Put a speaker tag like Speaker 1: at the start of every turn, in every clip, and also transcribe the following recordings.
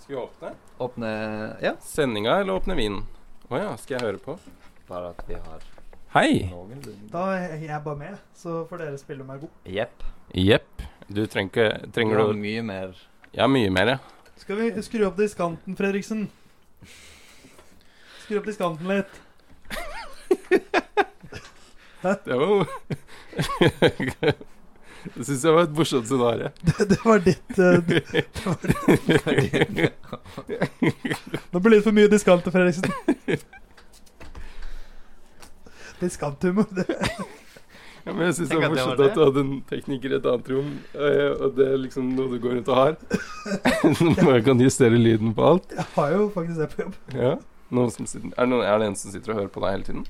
Speaker 1: Skal vi åpne?
Speaker 2: Åpne Ja.
Speaker 1: Sendinga eller åpne vinen? Å ja, skal jeg høre på?
Speaker 2: Bare at vi har
Speaker 1: Hei!
Speaker 2: noenlunde
Speaker 3: Da er jeg bare med, så får dere spille meg god.
Speaker 2: Jepp.
Speaker 1: Jepp. Du trenger ikke
Speaker 2: Vi
Speaker 1: Trenger
Speaker 2: har
Speaker 1: du
Speaker 2: mye mer
Speaker 1: Ja, mye mer, ja.
Speaker 3: Skal vi skru opp diskanten, Fredriksen? Skru opp diskanten litt.
Speaker 1: Det var jo Det syns jeg var et morsomt scenario.
Speaker 3: Det, det var ditt eh, d- Nå blir det for mye diskant til Fredriksen. Diskanthumor. det-
Speaker 1: Ja, men jeg syns det
Speaker 2: Tenk
Speaker 1: var
Speaker 2: at det var
Speaker 1: morsomt at du hadde en tekniker i et annet rom, eh, og det er liksom noe du går rundt og har. Som bare kan justere lyden på alt.
Speaker 3: Jeg har jo faktisk det på jobb.
Speaker 1: Ja. Noen som sitter, er, det noen, er det en som sitter og hører på deg hele tiden?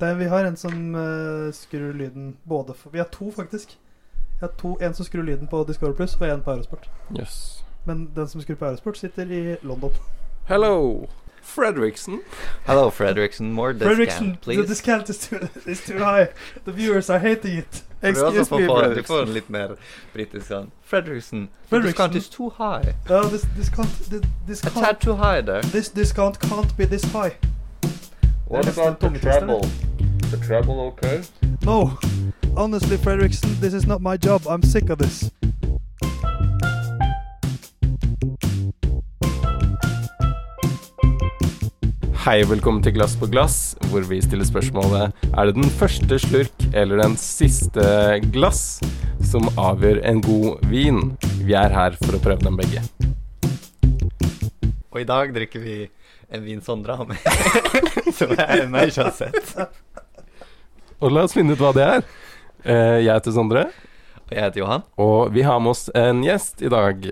Speaker 3: Det, vi har en som eh, skrur lyden både for Vi har to, faktisk. Jeg har to, En som skrur lyden på Discover Plus, og en på Eurosport.
Speaker 1: Jøss.
Speaker 3: Men den som skrur på Eurosport, sitter i London.
Speaker 1: Hello, Fredriksen.
Speaker 2: Hello, Fredriksen. More
Speaker 3: Fredriksen,
Speaker 2: discount,
Speaker 3: the
Speaker 2: please.
Speaker 3: discount is too, is too high. The viewers are hating it.
Speaker 2: Excuse
Speaker 1: Excuse me,
Speaker 2: Du får en
Speaker 1: Fredriksen.
Speaker 2: litt mer britisk sånn. Fredriksen, the
Speaker 3: Fredriksen.
Speaker 2: discount is too high.
Speaker 3: No, this, discount, the,
Speaker 2: A
Speaker 3: discount,
Speaker 2: tad too high there.
Speaker 3: this discount can't be this high.
Speaker 2: What
Speaker 3: nesten
Speaker 2: about the
Speaker 3: tungetester,
Speaker 2: treble? The treble okay?
Speaker 3: No. Honestly, Fredriksen, this is not my job. I'm sick of this.
Speaker 1: Hei, velkommen til Glass på glass, hvor vi stiller spørsmålet Er det den første slurk eller den siste glass som avgjør en god vin? Vi er her for å prøve dem begge.
Speaker 2: Og i dag drikker vi en vin Sondre har med, som jeg ennå ikke har sett.
Speaker 1: Og la oss finne ut hva det er. Eh, Jeg heter Sondre,
Speaker 2: Og jeg heter Johan.
Speaker 1: og vi har med oss en gjest i dag.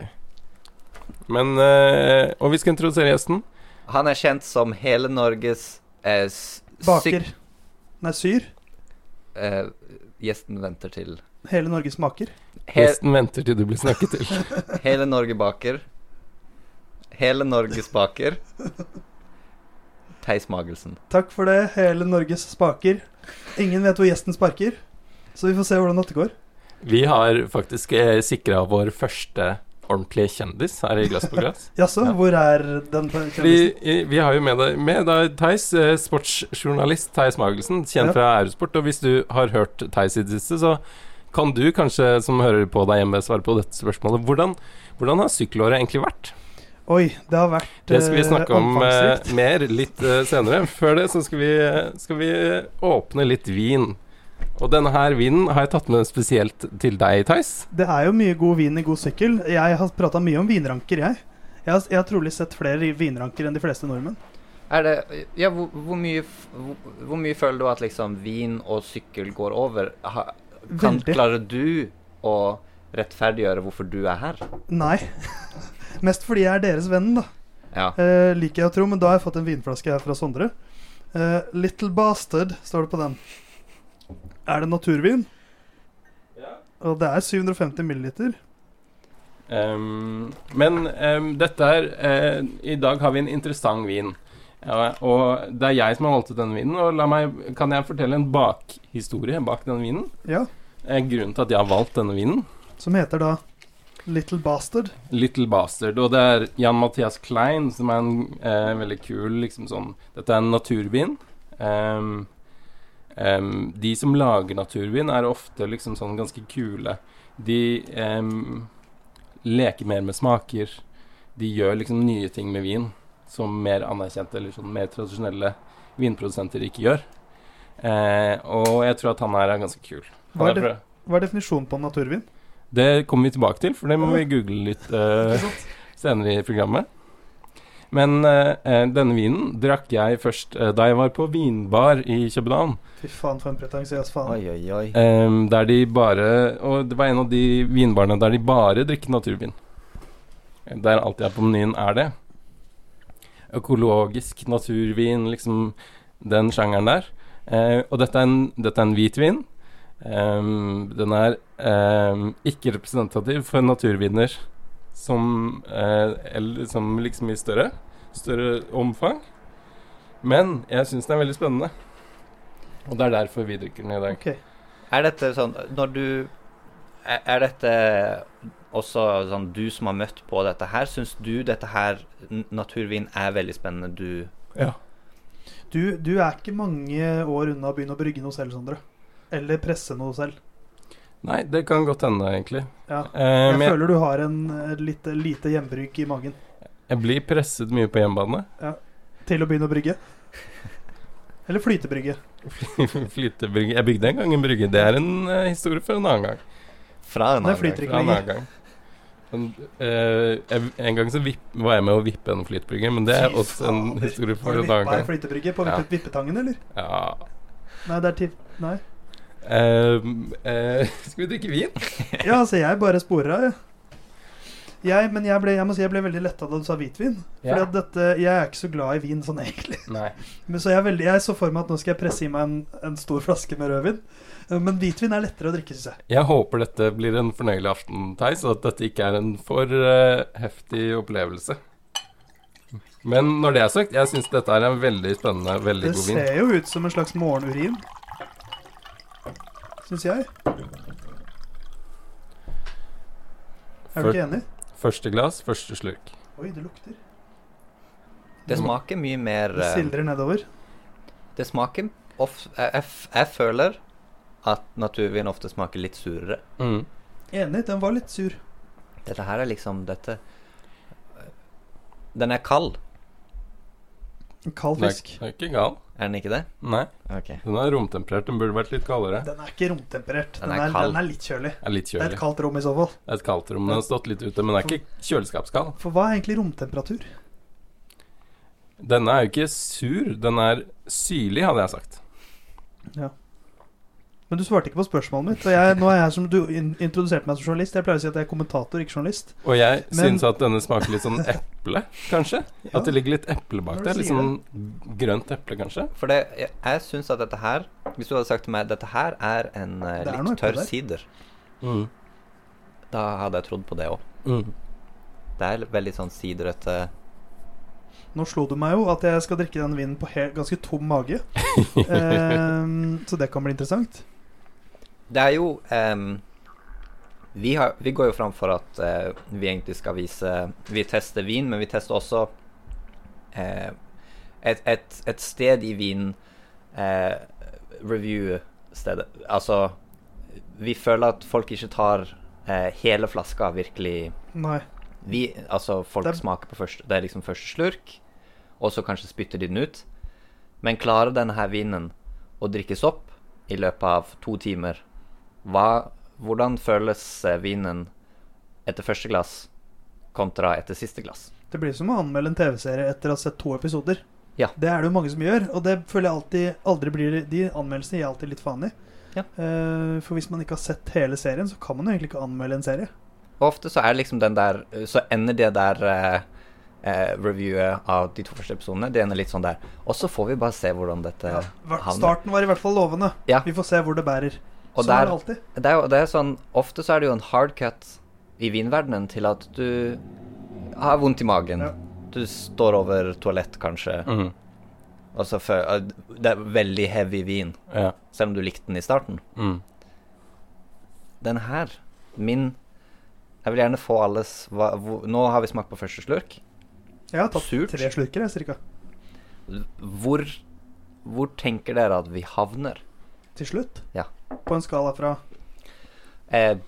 Speaker 1: Men eh, Og vi skal introdusere gjesten.
Speaker 2: Han er kjent som hele Norges eh, s-
Speaker 3: Baker.
Speaker 2: syk-
Speaker 3: Nei, syr.
Speaker 2: eh, gjesten venter til.
Speaker 3: Hele Norge smaker.
Speaker 2: He,
Speaker 1: Gjesten venter til du blir snakket til.
Speaker 2: hele Norge baker. Hele Norges baker. Theis Magelsen.
Speaker 3: Takk for det, hele Norges spaker. Ingen vet hvor gjesten sparker. Så vi får se hvordan dette går.
Speaker 1: Vi har faktisk eh, sikra vår første ordentlige kjendis her i Glass på glass.
Speaker 3: Jaså,
Speaker 1: Ja.
Speaker 3: hvor er den kjendisen?
Speaker 1: Fordi eh, vi har jo med deg med deg Theis, eh, sportsjournalist Theis Magelsen, kjent
Speaker 3: Ja.
Speaker 1: fra Eurosport. Og hvis du har hørt Theis i det siste, så kan du kanskje, som hører på deg hjemme, svare på dette spørsmålet. Hvordan, hvordan har sykkelåret egentlig vært?
Speaker 3: Oi, det har vært
Speaker 1: Det skal vi
Speaker 3: eh,
Speaker 1: snakke om eh,
Speaker 3: omfangsrikt.
Speaker 1: mer litt eh, senere. Før det så skal vi, skal vi åpne litt vin. Og denne her vinen har jeg tatt med spesielt til deg, Theis.
Speaker 3: Det er jo mye god vin i god sykkel. Jeg har prata mye om vinranker, jeg. Jeg har, jeg har trolig sett flere vinranker enn de fleste nordmenn.
Speaker 2: Er det Ja, hvor, hvor, mye, f- hvor, hvor mye føler du at liksom vin og sykkel går over? Ha, kan,
Speaker 3: Veldig.
Speaker 2: klarer du å rettferdiggjøre hvorfor du er her?
Speaker 3: Nei. Mest fordi jeg er deres venn, da.
Speaker 2: Ja.
Speaker 3: Eh, liker jeg å tro, men da har jeg fått en vinflaske her fra Sondre. Eh, Little Bastard står det på den. Er det naturvin? Og det er 750 milliliter.
Speaker 1: Ehm, men ehm, dette er eh, I dag har vi en interessant vin. Ja, og det er jeg som har valgt ut denne vinen. Og la meg, kan jeg fortelle en bakhistorie bak denne vinen?
Speaker 3: Ja,
Speaker 1: Eh, grunnen til at jeg har valgt denne vinen,
Speaker 3: Som heter da Little Bastard.
Speaker 1: Little Bastard. Og det er Jan Mathias Klein, som er en eh, veldig kul liksom sånn Dette er en naturvin. Ehm, ehm, de som lager naturvin, er ofte liksom sånn ganske kule. De ehm, leker mer med smaker. De gjør liksom nye ting med vin som mer anerkjente eller sånn mer tradisjonelle vinprodusenter ikke gjør. Eh, og jeg tror at han her er ganske kul. Han
Speaker 3: Hva er,
Speaker 1: er
Speaker 3: det,
Speaker 1: fra-
Speaker 3: hva er definisjonen på en naturvin?
Speaker 1: det kommer vi tilbake til, for det må vi google litt eh,
Speaker 3: Ikke sant?
Speaker 1: senere i programmet. Men eh, eh, denne vinen drakk jeg først eh, da jeg var på vinbar i København.
Speaker 3: Fy faen, for en pretensiøs faen.
Speaker 2: Oi, oi, oi.
Speaker 1: eh, der de bare Og det var en av de vinbarene der de bare drikker naturvin. Der alt jeg har på menyen, er det. Økologisk naturvin, liksom den sjangeren der. Eh, og dette er en, dette er en hvitvin. Ehm, den er ehm, ikke representativ for naturviner som, eh, eller, som liksom i større, større omfang. Men jeg syns den er veldig spennende. Og det er derfor vi drikker den i dag.
Speaker 3: Ok.
Speaker 2: Er dette sånn Når du Er er dette også sånn du som har møtt på dette her, syns du dette her, n- naturvin, er veldig spennende? Du
Speaker 4: Ja.
Speaker 3: Du, du er ikke mange år unna å begynne å brygge noe selv, Sondre. Eller presse noe selv.
Speaker 1: Nei, det kan godt hende, egentlig.
Speaker 3: Ja.
Speaker 1: Eh,
Speaker 3: Jeg
Speaker 1: men jeg,
Speaker 3: føler du har en eh, lite, lite hjembrygg i magen
Speaker 1: jeg blir presset mye på hjemmebane.
Speaker 3: til å begynne å brygge. Eller flytebrygge.
Speaker 1: Flytebrygge Jeg bygde en gang en brygge. Det er en eh, historie for en annen gang.
Speaker 2: Fra en annen
Speaker 3: Nei,
Speaker 2: gang.
Speaker 3: flyter ikke.
Speaker 1: Fra en annen gang. Men, eh, jeg, en gang så vipp, var jeg med å vippe en flytbrygge, men det er
Speaker 3: Fy
Speaker 1: også en
Speaker 3: fader.
Speaker 1: historie
Speaker 3: Har
Speaker 1: for
Speaker 3: du
Speaker 1: en
Speaker 3: vippa
Speaker 1: annen
Speaker 3: ei
Speaker 1: gang.
Speaker 3: flytebrygge på
Speaker 1: Ja.
Speaker 3: vippet- vippetangen, eller?
Speaker 1: Ja.
Speaker 3: Nei, det er til Nei.
Speaker 1: Eh, eh, skal vi drikke vin?
Speaker 3: Ja, altså, jeg bare sporer av, jeg. Jeg, men jeg ble, jeg må si jeg ble veldig letta da du sa hvitvin. Fordi at dette, Jeg er ikke så glad i vin sånn egentlig.
Speaker 1: Nei.
Speaker 3: Men så jeg, er veldig, jeg så for meg at nå skal jeg presse i meg en, en stor flaske med rødvin. Eh, Men hvitvin er lettere å drikke, syns jeg.
Speaker 1: Jeg håper dette blir en fornøyelig aften, Theis, og at dette ikke er en for eh, heftig opplevelse. Men når det er sagt, jeg syns dette er en veldig spennende, veldig
Speaker 3: Det
Speaker 1: god vin.
Speaker 3: ser jo ut som en slags morgenurin. Syns jeg. Er du
Speaker 1: Før-
Speaker 3: ikke enig?
Speaker 1: Første glass, første slurk.
Speaker 3: Oi, det lukter.
Speaker 2: Det smaker mye mer
Speaker 3: Det
Speaker 2: eh,
Speaker 3: sildrer nedover.
Speaker 2: Det smaker of, jeg, jeg, f- jeg føler at naturvin ofte smaker litt surere.
Speaker 1: Mm.
Speaker 3: Enig, den var litt sur.
Speaker 2: Dette her er liksom dette eh, Den er kald,
Speaker 3: En kald
Speaker 1: Den er,
Speaker 3: fisk.
Speaker 1: den er ikke gal.
Speaker 2: er den ikke det?
Speaker 1: Nei.
Speaker 2: Ok.
Speaker 1: Den er romtemperert. Den burde vært litt kaldere.
Speaker 3: Den er ikke romtemperert.
Speaker 2: Den
Speaker 3: Den
Speaker 2: er
Speaker 3: er,
Speaker 2: kald.
Speaker 3: den er litt kjølig.
Speaker 1: Det er litt
Speaker 3: Det er et
Speaker 1: kjølig.
Speaker 3: kaldt rom i så fall.
Speaker 1: Det er et kaldt rom. Den har stått litt ute, men den er ikke kjøleskapskald.
Speaker 3: For hva er egentlig romtemperatur?
Speaker 1: Denne er jo ikke sur. Den er syrlig, hadde jeg sagt.
Speaker 3: Men du svarte ikke på spørsmålet mitt. Og jeg, nå er jeg som du in introduserte meg som journalist. Jeg pleier å si at jeg er kommentator, ikke journalist.
Speaker 1: Og jeg
Speaker 3: Men-
Speaker 1: syns at denne smaker litt sånn eple, kanskje.
Speaker 3: Ja.
Speaker 1: At det ligger litt eple bak
Speaker 3: Når du
Speaker 1: der. Litt
Speaker 3: sier
Speaker 1: sånn grønt eple, kanskje.
Speaker 2: For det, jeg, jeg syns at dette her Hvis du hadde sagt til meg dette her er en eh,
Speaker 3: Det er noe
Speaker 2: litt tørr
Speaker 3: på det.
Speaker 2: sider,
Speaker 1: Mm.
Speaker 2: da hadde jeg trodd på det òg.
Speaker 1: Mm.
Speaker 2: Det er veldig sånn siderete
Speaker 3: Nå slo du meg jo at jeg skal drikke den vinen på helt, ganske tom mage. Ehm, så det kan bli interessant.
Speaker 2: Det er jo em, vi, har, vi går jo fram for at eh, vi egentlig skal vise Vi tester vin, men vi tester også eh, et, et, et sted i vin eh, Review-stedet. Altså Vi føler at folk ikke tar eh, hele flaska virkelig
Speaker 3: Nei.
Speaker 2: vi, altså folk
Speaker 3: Det er-
Speaker 2: smaker på første Det er liksom første slurk, og så kanskje spytter de den ut. Men klarer denne her vinen å drikkes opp i løpet av to timer, hva, hvordan føles eh, vinen etter første glass kontra etter siste glass?
Speaker 3: Det blir som å anmelde en TV-serie etter å ha sett to episoder.
Speaker 2: Ja.
Speaker 3: Det er det jo mange som gjør, og det føler jeg alltid aldri blir De anmeldelsene gir jeg alltid litt faen i.
Speaker 2: Ja.
Speaker 3: Ehm, for hvis man ikke har sett hele serien, så kan man jo egentlig ikke anmelde en serie.
Speaker 2: Og ofte så er det liksom den der Så ender det der eh, eh, reviewet av de to første episodene, det ender litt sånn der. Og så får vi bare se hvordan dette
Speaker 3: Ja, hvert-
Speaker 2: havner.
Speaker 3: starten var i hvert fall lovende.
Speaker 2: Ja.
Speaker 3: Vi får se hvor det bærer.
Speaker 2: Og
Speaker 3: sånn er
Speaker 2: der-
Speaker 3: det alltid.
Speaker 2: Det er, jo- det er sånn, Ofte så er det jo en hard cut i vinverdenen til at du har vondt i magen.
Speaker 3: Ja.
Speaker 2: Du står over toalett, kanskje,
Speaker 1: Mm.
Speaker 2: og så fø- Det er veldig heavy vin,
Speaker 1: Ja.
Speaker 2: selv om du likte den i starten.
Speaker 1: Mm.
Speaker 2: Den her, min Jeg vil gjerne få alles hva, hvor, Nå har vi smakt på første slurk.
Speaker 3: Jeg har tatt
Speaker 2: Surt.
Speaker 3: tre slurker, jeg, cirka.
Speaker 2: Hvor, hvor tenker dere at vi havner?
Speaker 3: Til slutt.
Speaker 2: Ja.
Speaker 3: På en skala fra
Speaker 2: Eh,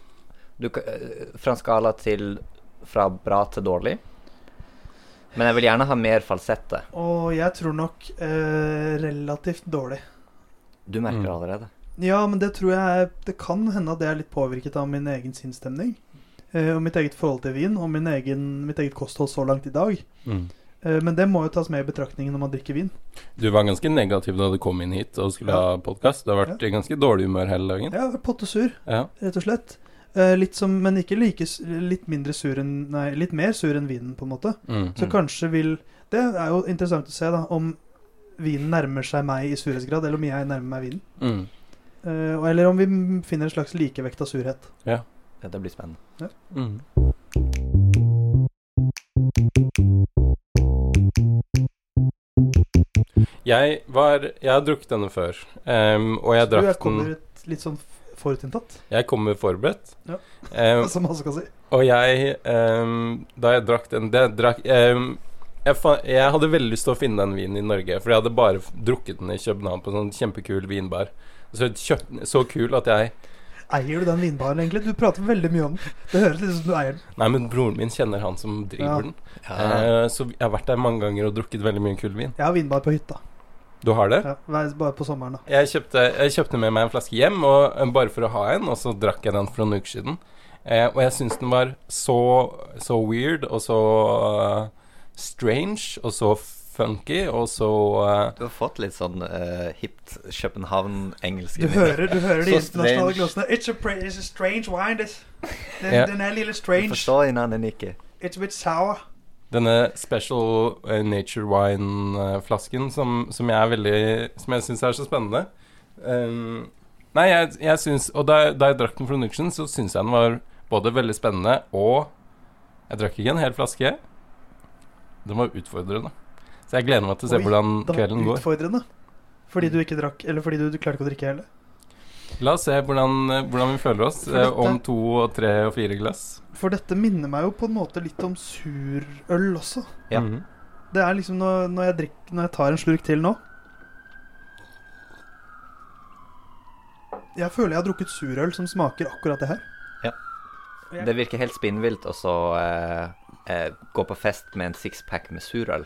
Speaker 2: du, ka- eh, fra en skala til fra bra til dårlig. Men jeg vil gjerne ha mer falsette.
Speaker 3: Og jeg tror nok eh, relativt dårlig.
Speaker 2: Du merker
Speaker 1: Mm.
Speaker 2: det allerede.
Speaker 3: Ja, men det tror jeg Det kan hende at det er litt påvirket av min egen sinnsstemning. eh, og mitt eget forhold til vin, og min egen, mitt eget kosthold så langt i dag.
Speaker 1: Mm.
Speaker 3: Eh, men det må jo tas med i betraktningen når man drikker vin.
Speaker 1: Du var ganske negativ da du kom inn hit og skulle ha podkast. Du har vært i ganske dårlig humør hele dagen.
Speaker 3: Jeg har vært pottesur,
Speaker 1: Ja.
Speaker 3: rett og slett. Eh, litt som, men ikke like s- Litt mindre sur enn Nei, litt mer sur enn vinen, på en måte.
Speaker 1: Mm.
Speaker 3: Så
Speaker 2: Mm.
Speaker 3: kanskje vil Det er jo interessant å se, da, om vinen nærmer seg meg i surhetsgrad, eller om jeg nærmer meg vinen.
Speaker 1: Mm.
Speaker 3: Eh, og- eller om vi m- finner en slags likevekt av surhet.
Speaker 2: Dette blir spennende.
Speaker 1: Mm. Jeg var Jeg har drukket denne før, em, og jeg
Speaker 3: Så du
Speaker 1: drakk
Speaker 3: kommer
Speaker 1: den
Speaker 3: et litt sånn f- forutinntatt,
Speaker 1: Jeg kommer forberedt.
Speaker 3: Ja.
Speaker 1: Eh,
Speaker 3: som man skal si.
Speaker 1: og jeg ehm, Da jeg drakk den det, drakk, ehm, jeg, fa jeg hadde veldig lyst til å finne den vinen i Norge, for jeg hadde bare f- drukket den i København på en sånn kjempekul vinbar. Så, kjøpt, så kul at jeg
Speaker 3: Eier du den vinbaren egentlig? Du prater veldig mye om den. Det høres litt ut som du eier den.
Speaker 1: Nei, men broren min kjenner han som
Speaker 3: Ja.
Speaker 1: driver den. Eh, så jeg har vært der mange ganger og drukket veldig mye kul vin.
Speaker 3: Jeg har vinbar på hytta.
Speaker 1: Du har det?
Speaker 3: Ja, hver- bare på sommeren, da.
Speaker 1: Jeg kjøpte, jeg kjøpte med meg en flaske hjem, og, eh, bare for å ha en, og så drakk jeg den for noen uker siden. Eh, og jeg syns den var så, så weird, og så eh, strange, og så funky, og så eh,
Speaker 2: Du har fått litt sånn eh, hipt København-engelsk
Speaker 3: Du
Speaker 2: inni deg.
Speaker 3: hører, du hører de
Speaker 2: Så
Speaker 3: internasjonale
Speaker 2: strange.
Speaker 3: glossene. It's a, pra- it's a strange wine, this. Den,
Speaker 1: Ja.
Speaker 3: den er lille
Speaker 2: Du
Speaker 3: strange.
Speaker 2: forstår innan den ikke.
Speaker 3: It's a bit sour.
Speaker 1: denne special eh, nature wine-flasken som, som jeg er veldig Som jeg syns er så spennende. Eh, nei, jeg, jeg syns Og da, jeg- da jeg drakk den for noen uker siden, så syns jeg den var både veldig spennende og Jeg drakk ikke en hel flaske. Den var utfordrende. Så jeg gleder meg til å se
Speaker 3: Oi,
Speaker 1: hvordan
Speaker 3: Det var
Speaker 1: kvelden går.
Speaker 3: utfordrende. Fordi
Speaker 2: Mm.
Speaker 3: du ikke drakk, eller fordi du, du klarte ikke å drikke heller.
Speaker 1: La oss se hvordan, eh, hvordan vi føler oss
Speaker 3: For
Speaker 1: eh,
Speaker 3: dette-
Speaker 1: om to og tre og fire glass.
Speaker 3: For dette minner meg jo på en måte litt om surøl også.
Speaker 2: Ja.
Speaker 1: Mhm.
Speaker 3: Det er liksom når, når, jeg, drikker, når jeg tar en slurk til nå Jeg føler jeg har drukket surøl som smaker akkurat det her.
Speaker 2: Det virker helt spinnvilt å så eh, eh, gå på fest med en sixpack med surøl.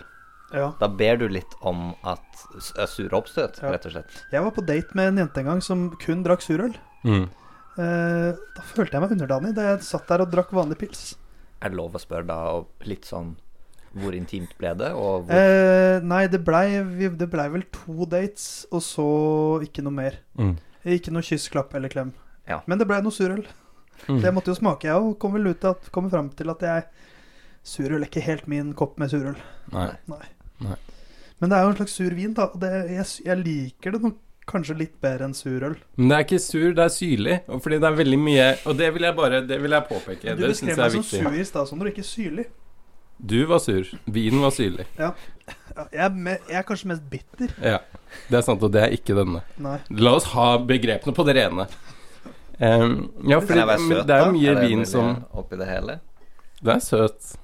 Speaker 3: Ja.
Speaker 2: Da ber du litt om at s- eh, sure oppstøt,
Speaker 3: Ja.
Speaker 2: rett og slett.
Speaker 3: Jeg var på date med en jente en gang som kun drakk surøl.
Speaker 1: Mhm.
Speaker 3: Eh, da følte jeg meg underdanig da jeg satt der og drakk vanlig pils.
Speaker 2: Er det lov å spørre da og litt sånn hvor intimt ble det, og hvor
Speaker 3: Eh, nei, det blei det ble vel to dates, og så ikke noe mer.
Speaker 1: Mhm.
Speaker 3: Ikke noe kyss, klapp eller klem.
Speaker 2: Ja.
Speaker 3: Men det blei noe surøl.
Speaker 1: Mhm.
Speaker 3: Det måtte jo smake, jeg òg. Kom vel ut til at, kom fram til at jeg Surøl er ikke helt min kopp med surøl.
Speaker 1: Nei.
Speaker 3: Men det er jo en slags sur vin, da. Og det, jeg, sy- jeg liker det nok kanskje litt bedre enn surøl.
Speaker 1: Men det er ikke sur, det er syrlig. og Fordi det er veldig mye Og det vil jeg bare det vil jeg påpeke.
Speaker 3: Men du
Speaker 1: Det
Speaker 3: beskrev
Speaker 1: syns jeg
Speaker 3: meg
Speaker 1: er
Speaker 3: som
Speaker 1: viktig.
Speaker 3: sur i stad, Sondre, ikke syrlig.
Speaker 1: Du var sur. Vinen var syrlig.
Speaker 3: Ja, jeg, er me, jeg er kanskje mest bitter.
Speaker 1: Ja. Det er sant, og det er ikke denne.
Speaker 3: Nei.
Speaker 1: La oss ha begrepene på det rene. Ehm, ja,
Speaker 2: Kan
Speaker 1: fordi
Speaker 2: jeg være
Speaker 1: men
Speaker 2: søt,
Speaker 1: det er
Speaker 2: da?
Speaker 1: jo mye
Speaker 2: Er det
Speaker 1: vin
Speaker 2: mulig
Speaker 1: som
Speaker 2: Oppi det hele?
Speaker 1: Du er søt.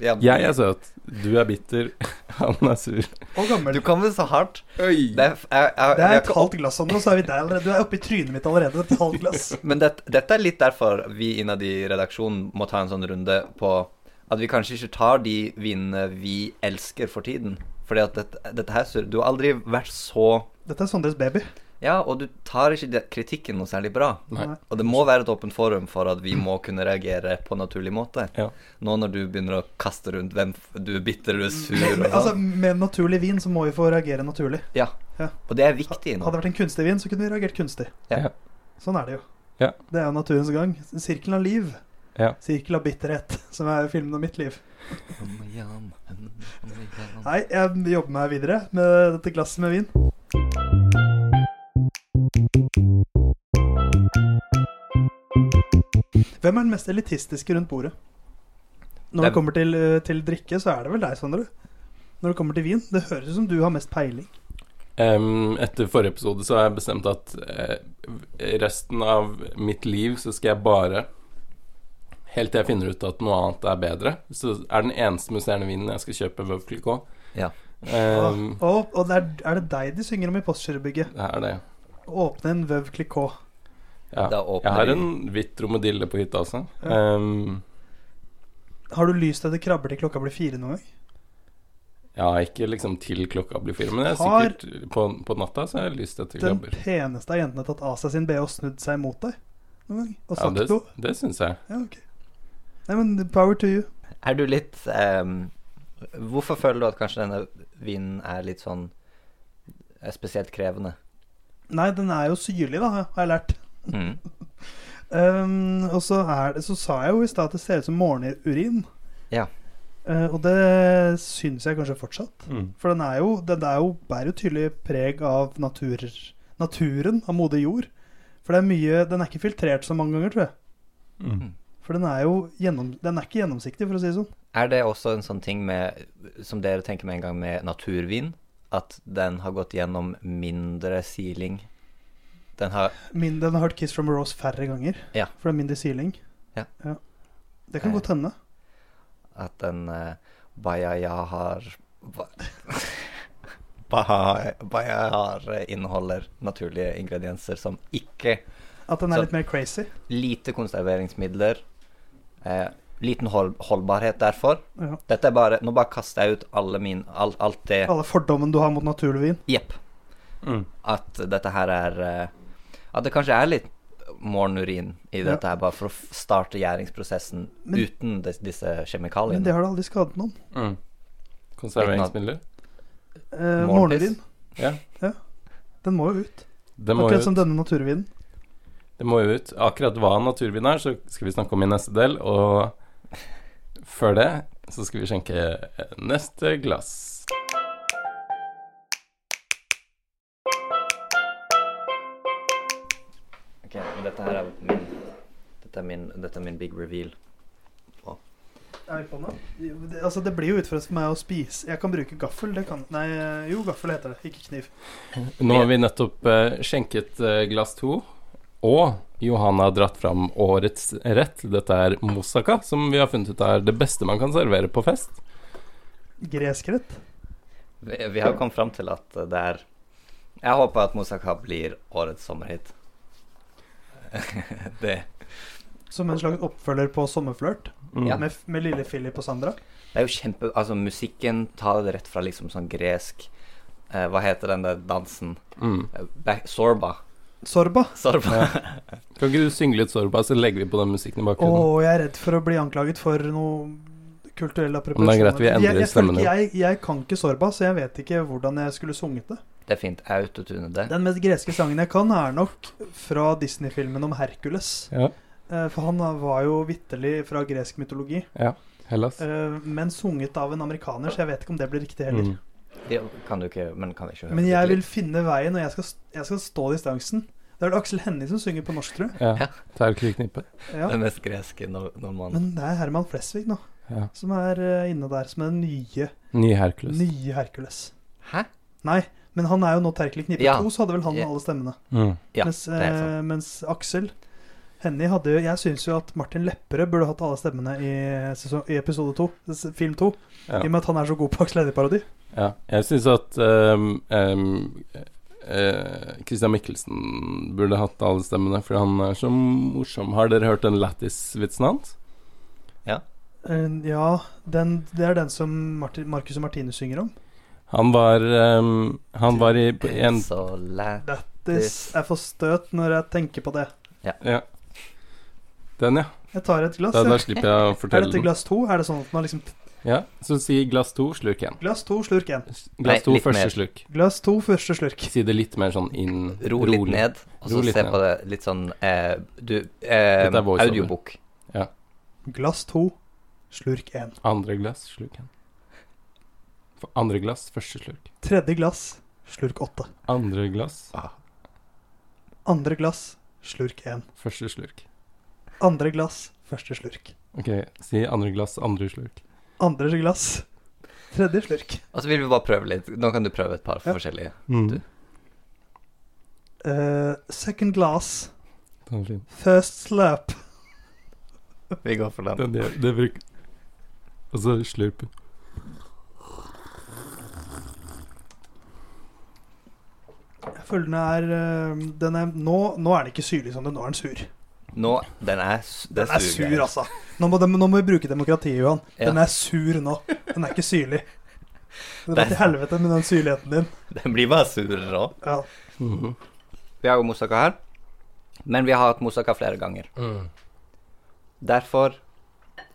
Speaker 2: Ja,
Speaker 1: Jeg er søt. Du er bitter. Han er sur.
Speaker 3: Og gammel.
Speaker 2: Du kommer så hardt.
Speaker 1: Oi.
Speaker 2: Det er, f- jeg, jeg,
Speaker 3: Det er
Speaker 2: jeg,
Speaker 3: et halvt glass, Sondre, og så er vi der allerede. Du er oppe i trynet mitt allerede. Et halvt glass.
Speaker 2: Men det, dette er litt derfor vi innad i redaksjonen må ta en sånn runde på at vi kanskje ikke tar de vinene vi elsker for tiden. Fordi at dette, dette her sur- Du har aldri vært så
Speaker 3: Dette er Sondres baby.
Speaker 2: Ja, og du tar ikke de- kritikken noe særlig bra.
Speaker 1: Nei.
Speaker 2: Og det må være et åpent forum for at vi må kunne reagere på en naturlig måte.
Speaker 1: Ja.
Speaker 2: Nå når du begynner å kaste rundt hvem f- du er bitter, du er sur
Speaker 3: Men-
Speaker 2: og
Speaker 3: men, altså,
Speaker 2: sånn.
Speaker 3: med naturlig vin så må vi få reagere naturlig.
Speaker 2: Ja.
Speaker 3: Ja.
Speaker 2: Og det er viktig
Speaker 3: Hadde
Speaker 2: nå.
Speaker 3: det vært en kunstig vin, så kunne vi reagert kunstig.
Speaker 1: Ja.
Speaker 3: Sånn er det jo.
Speaker 1: Ja.
Speaker 3: Det er jo naturens gang. Sirkelen av liv.
Speaker 1: Ja.
Speaker 3: Sirkel av bitterhet, som er filmen om mitt liv.
Speaker 2: Om igjen, om igjen.
Speaker 3: Nei, jeg jobber meg videre med dette glasset med vin. Hvem er den mest elitistiske rundt bordet? Når det
Speaker 2: Hvem?
Speaker 3: kommer til, eh, til drikke, så er det vel deg, Sondre. Når det kommer til vin. Det høres ut som du har mest peiling.
Speaker 1: Ehm, etter forrige episode så har jeg bestemt at eh, resten av mitt liv så skal jeg bare Helt til jeg finner ut at noe annet er bedre. Så er den eneste musserende vinen jeg skal kjøpe, Veuve Clicquot.
Speaker 2: Ja.
Speaker 1: Ehm,
Speaker 3: Og, og det er, er det deg de synger om i Postgirobygget?
Speaker 1: det er det.
Speaker 3: Åpne en Veuve Clicquot.
Speaker 1: Ja.
Speaker 2: Da
Speaker 1: Jeg
Speaker 2: åpner
Speaker 1: har
Speaker 2: vi.
Speaker 1: en hvitt romadille på hytta også.
Speaker 3: Ja.
Speaker 1: Ehm,
Speaker 3: Har du lyst etter krabber til klokka blir fire noen gang?
Speaker 1: ja, ikke liksom til klokka blir fire, men jeg er
Speaker 3: Har-
Speaker 1: sikkert på, på natta så har jeg lyst etter
Speaker 3: Den
Speaker 1: krabber.
Speaker 3: peneste av jentene har tatt av seg sin BH og snudd seg mot deg noen gang? Og
Speaker 1: Ja,
Speaker 3: sagt
Speaker 1: det
Speaker 3: noe?
Speaker 1: det syns jeg.
Speaker 3: Ja, ok. Nei, men power to you.
Speaker 2: Er du litt ehm, Hvorfor føler du at kanskje denne vinen er litt sånn er spesielt krevende?
Speaker 3: Nei, den er jo syrlig, da, har jeg lært. Ehm, og så, er det, så sa jeg jo i stad at det ser ut som morgenurin.
Speaker 2: Ja.
Speaker 3: Eh, og det syns jeg kanskje fortsatt. For den er jo, den er jo, bærer jo tydelig preg av natur, naturen, av moder jord. For det er mye, den er ikke filtrert så mange ganger, tror jeg.
Speaker 1: Mm.
Speaker 3: For den er jo gjennom, den er ikke gjennomsiktig, for å si det sånn.
Speaker 2: Er det også en sånn ting med, som dere tenker med en gang med naturvin, at den har gått gjennom mindre siling Den har
Speaker 3: Min, den har hørt 'Kiss from a Rose' færre ganger.
Speaker 2: Ja.
Speaker 3: For det er mindre siling.
Speaker 2: Ja.
Speaker 3: Det kan
Speaker 2: Eh.
Speaker 3: godt hende.
Speaker 2: at den uh, Bayaya har ba- Baha- Bayaya har eh, inneholder naturlige ingredienser som ikke
Speaker 3: At den er
Speaker 2: Så-
Speaker 3: litt mer crazy.
Speaker 2: Lite konserveringsmidler. Eh, liten hold, holdbarhet derfor.
Speaker 3: Ja.
Speaker 2: Dette er bare Nå bare kaster jeg ut alle min alt, alt det
Speaker 3: Alle fordommene du har mot naturlig vin.
Speaker 2: Jepp.
Speaker 1: Mm.
Speaker 2: At dette her er eh, At det kanskje er litt morgenurin i
Speaker 3: Ja.
Speaker 2: dette her, bare for å f- starte gjæringsprosessen
Speaker 3: Men-
Speaker 2: uten dis- disse
Speaker 3: Men det
Speaker 2: kjemikaliene.
Speaker 3: har da aldri skadet noen.
Speaker 1: Mm. Konserveringsmidler?
Speaker 3: Eh,
Speaker 2: Morgenpiss.
Speaker 3: Morgenvin,
Speaker 1: Ja.
Speaker 3: den må jo ut.
Speaker 1: Det må,
Speaker 3: Akkurat
Speaker 1: jo,
Speaker 3: som denne naturvinen.
Speaker 1: det må jo ut. Akkurat hva naturvin er, så skal vi snakke om i neste del. Og før det så skal vi skjenke eh, neste glass.
Speaker 2: Ok, men dette her er min Dette er min, dette er min big reveal.
Speaker 3: Er vi på nå? Det- Altså, det blir jo utfordrende for meg å spise. Jeg kan bruke gaffel. Det kan Nei, jo, gaffel heter det, ikke kniv.
Speaker 1: Nå har vi nettopp eh, skjenket eh, glass to, og Johanna har dratt fram årets rett. Dette er moussaka, som vi har funnet ut er det beste man kan servere på fest.
Speaker 3: Greskrett.
Speaker 2: Vi, vi har kommet fram til at det er Jeg håper at Moussaka blir årets sommerhit. det
Speaker 3: Som en slags oppfølger på Sommerflørt,
Speaker 1: Mm.
Speaker 2: Ja.
Speaker 3: med, med lille Philip og Sandra.
Speaker 2: Det er jo kjempe... Altså, musikken tar det rett fra liksom sånn gresk eh, Hva heter den der dansen?
Speaker 1: Mm.
Speaker 2: Eh, Ba- Sorba.
Speaker 3: Sorba.
Speaker 2: Sorba.
Speaker 1: Kan ikke du synge litt Sorba, så legger vi på den musikken i
Speaker 3: Å,
Speaker 1: bakgrunnen?
Speaker 3: jeg er redd for å bli anklaget for noe kulturell
Speaker 1: er
Speaker 3: appropriasjon.
Speaker 1: greit vi endrer
Speaker 3: jeg, jeg, føler
Speaker 1: stemmen
Speaker 3: ikke- jeg, jeg kan ikke sorba, så jeg vet ikke hvordan jeg skulle sunget det.
Speaker 2: Det er fint. Jeg autotuner det.
Speaker 3: Den mest greske sangen jeg kan, er nok fra Disney-filmen om Hercules.
Speaker 1: Ja.
Speaker 3: Eh, For han var jo vitterlig fra gresk mytologi,
Speaker 1: Hellas.
Speaker 3: eh, men sunget av en amerikaner, så jeg vet ikke om det blir riktig heller.
Speaker 1: Mm.
Speaker 2: Det kan du ikke Men kan vi ikke høre
Speaker 3: Men
Speaker 2: litt
Speaker 3: jeg
Speaker 2: litt?
Speaker 3: vil finne veien, og jeg skal, jeg skal stå distansen. Det er vel Aksel Hennie som synger på norsk, tror jeg.
Speaker 1: Ja.
Speaker 2: Ja.
Speaker 1: Terkliknippe.
Speaker 3: Ja.
Speaker 2: Det mest greske når, når man
Speaker 3: Men det er Herman Flesvig nå,
Speaker 1: Ja.
Speaker 3: som er eh, inne der som den nye,
Speaker 1: Ny Hercules.
Speaker 3: nye Hercules.
Speaker 2: Hæ?
Speaker 3: Nei, men han er jo nå Terkelig knippe
Speaker 2: Ja.
Speaker 3: 2, så hadde vel han
Speaker 2: Ja.
Speaker 3: alle stemmene.
Speaker 1: Mm.
Speaker 2: Ja,
Speaker 3: mens,
Speaker 2: det er sant.
Speaker 3: eh, mens Aksel Hennie hadde jo Jeg syns jo at Martin Lepperød burde hatt alle stemmene i, sesong, i episode 2, s- film 2,
Speaker 1: Ja.
Speaker 3: i og med at han er så god på Aksel Hennie-parodi.
Speaker 1: Ja, jeg syns at ehm, ehm, eh, Christian Mikkelsen burde hatt alle stemmene, for han er så morsom. Har dere hørt den lættis-vitsen hans?
Speaker 3: Eh, ja, den, det er den som Martin, Marcus og Martinus synger om.
Speaker 1: Han var ehm, Han var i på en
Speaker 2: Så læ...
Speaker 3: This er for støt når jeg tenker på det.
Speaker 1: Den, ja.
Speaker 3: Jeg tar et glass.
Speaker 1: Da, da
Speaker 3: jeg.
Speaker 1: slipper jeg å
Speaker 3: Er
Speaker 1: fortelle
Speaker 3: dette
Speaker 1: den.
Speaker 3: glass to? Er det sånn at man liksom
Speaker 1: Ja, så si glass to, slurk én.
Speaker 3: Glass to, slurk én.
Speaker 2: Nei,
Speaker 1: Glass to,
Speaker 2: litt
Speaker 1: første
Speaker 2: mer.
Speaker 1: slurk.
Speaker 3: Glass to, første slurk.
Speaker 1: Si det litt mer sånn inn
Speaker 2: Ro litt
Speaker 1: rolig.
Speaker 2: ned, og
Speaker 1: Ro
Speaker 2: så
Speaker 1: litt
Speaker 2: se
Speaker 1: ned.
Speaker 2: på det litt sånn eh, Du eh,
Speaker 1: Dette er voiceover.
Speaker 2: Audiobok.
Speaker 3: Glass to, slurk én.
Speaker 1: Andre glass, slurk én. For Andre glass, første slurk.
Speaker 3: Tredje glass, slurk åtte.
Speaker 1: Andre glass,
Speaker 3: Andre glass, slurk én.
Speaker 1: første slurk.
Speaker 3: Andre glass, første slurk.
Speaker 1: Ok, si andre glass, andre slurk.
Speaker 3: Andre glass, tredje slurk.
Speaker 2: Og så vil vi bare prøve litt. Nå kan du prøve et par
Speaker 3: Ja.
Speaker 2: forskjellige.
Speaker 1: Mm.
Speaker 2: Du.
Speaker 3: Eh, second glass,
Speaker 1: Den er fin.
Speaker 3: first slurp.
Speaker 2: Vi går for den.
Speaker 1: Den gjør det bruk... Og så slurpen.
Speaker 3: Jeg føler den er, eh, den er nå, nå er den ikke syrlig som den, nå er den sur.
Speaker 2: Nå Den er, s- det
Speaker 3: Den er
Speaker 2: suger.
Speaker 3: sur, altså. Nå må, dem- nå må vi bruke demokratiet, Johan. Den
Speaker 2: Ja.
Speaker 3: er sur nå. Den er ikke syrlig. Det var
Speaker 2: Den-
Speaker 3: til helvete med den syrligheten din.
Speaker 2: Den blir bare surere òg.
Speaker 3: Ja.
Speaker 2: Mm. Vi har jo moussaka her, men vi har hatt moussaka flere ganger.
Speaker 1: Mm.
Speaker 2: Derfor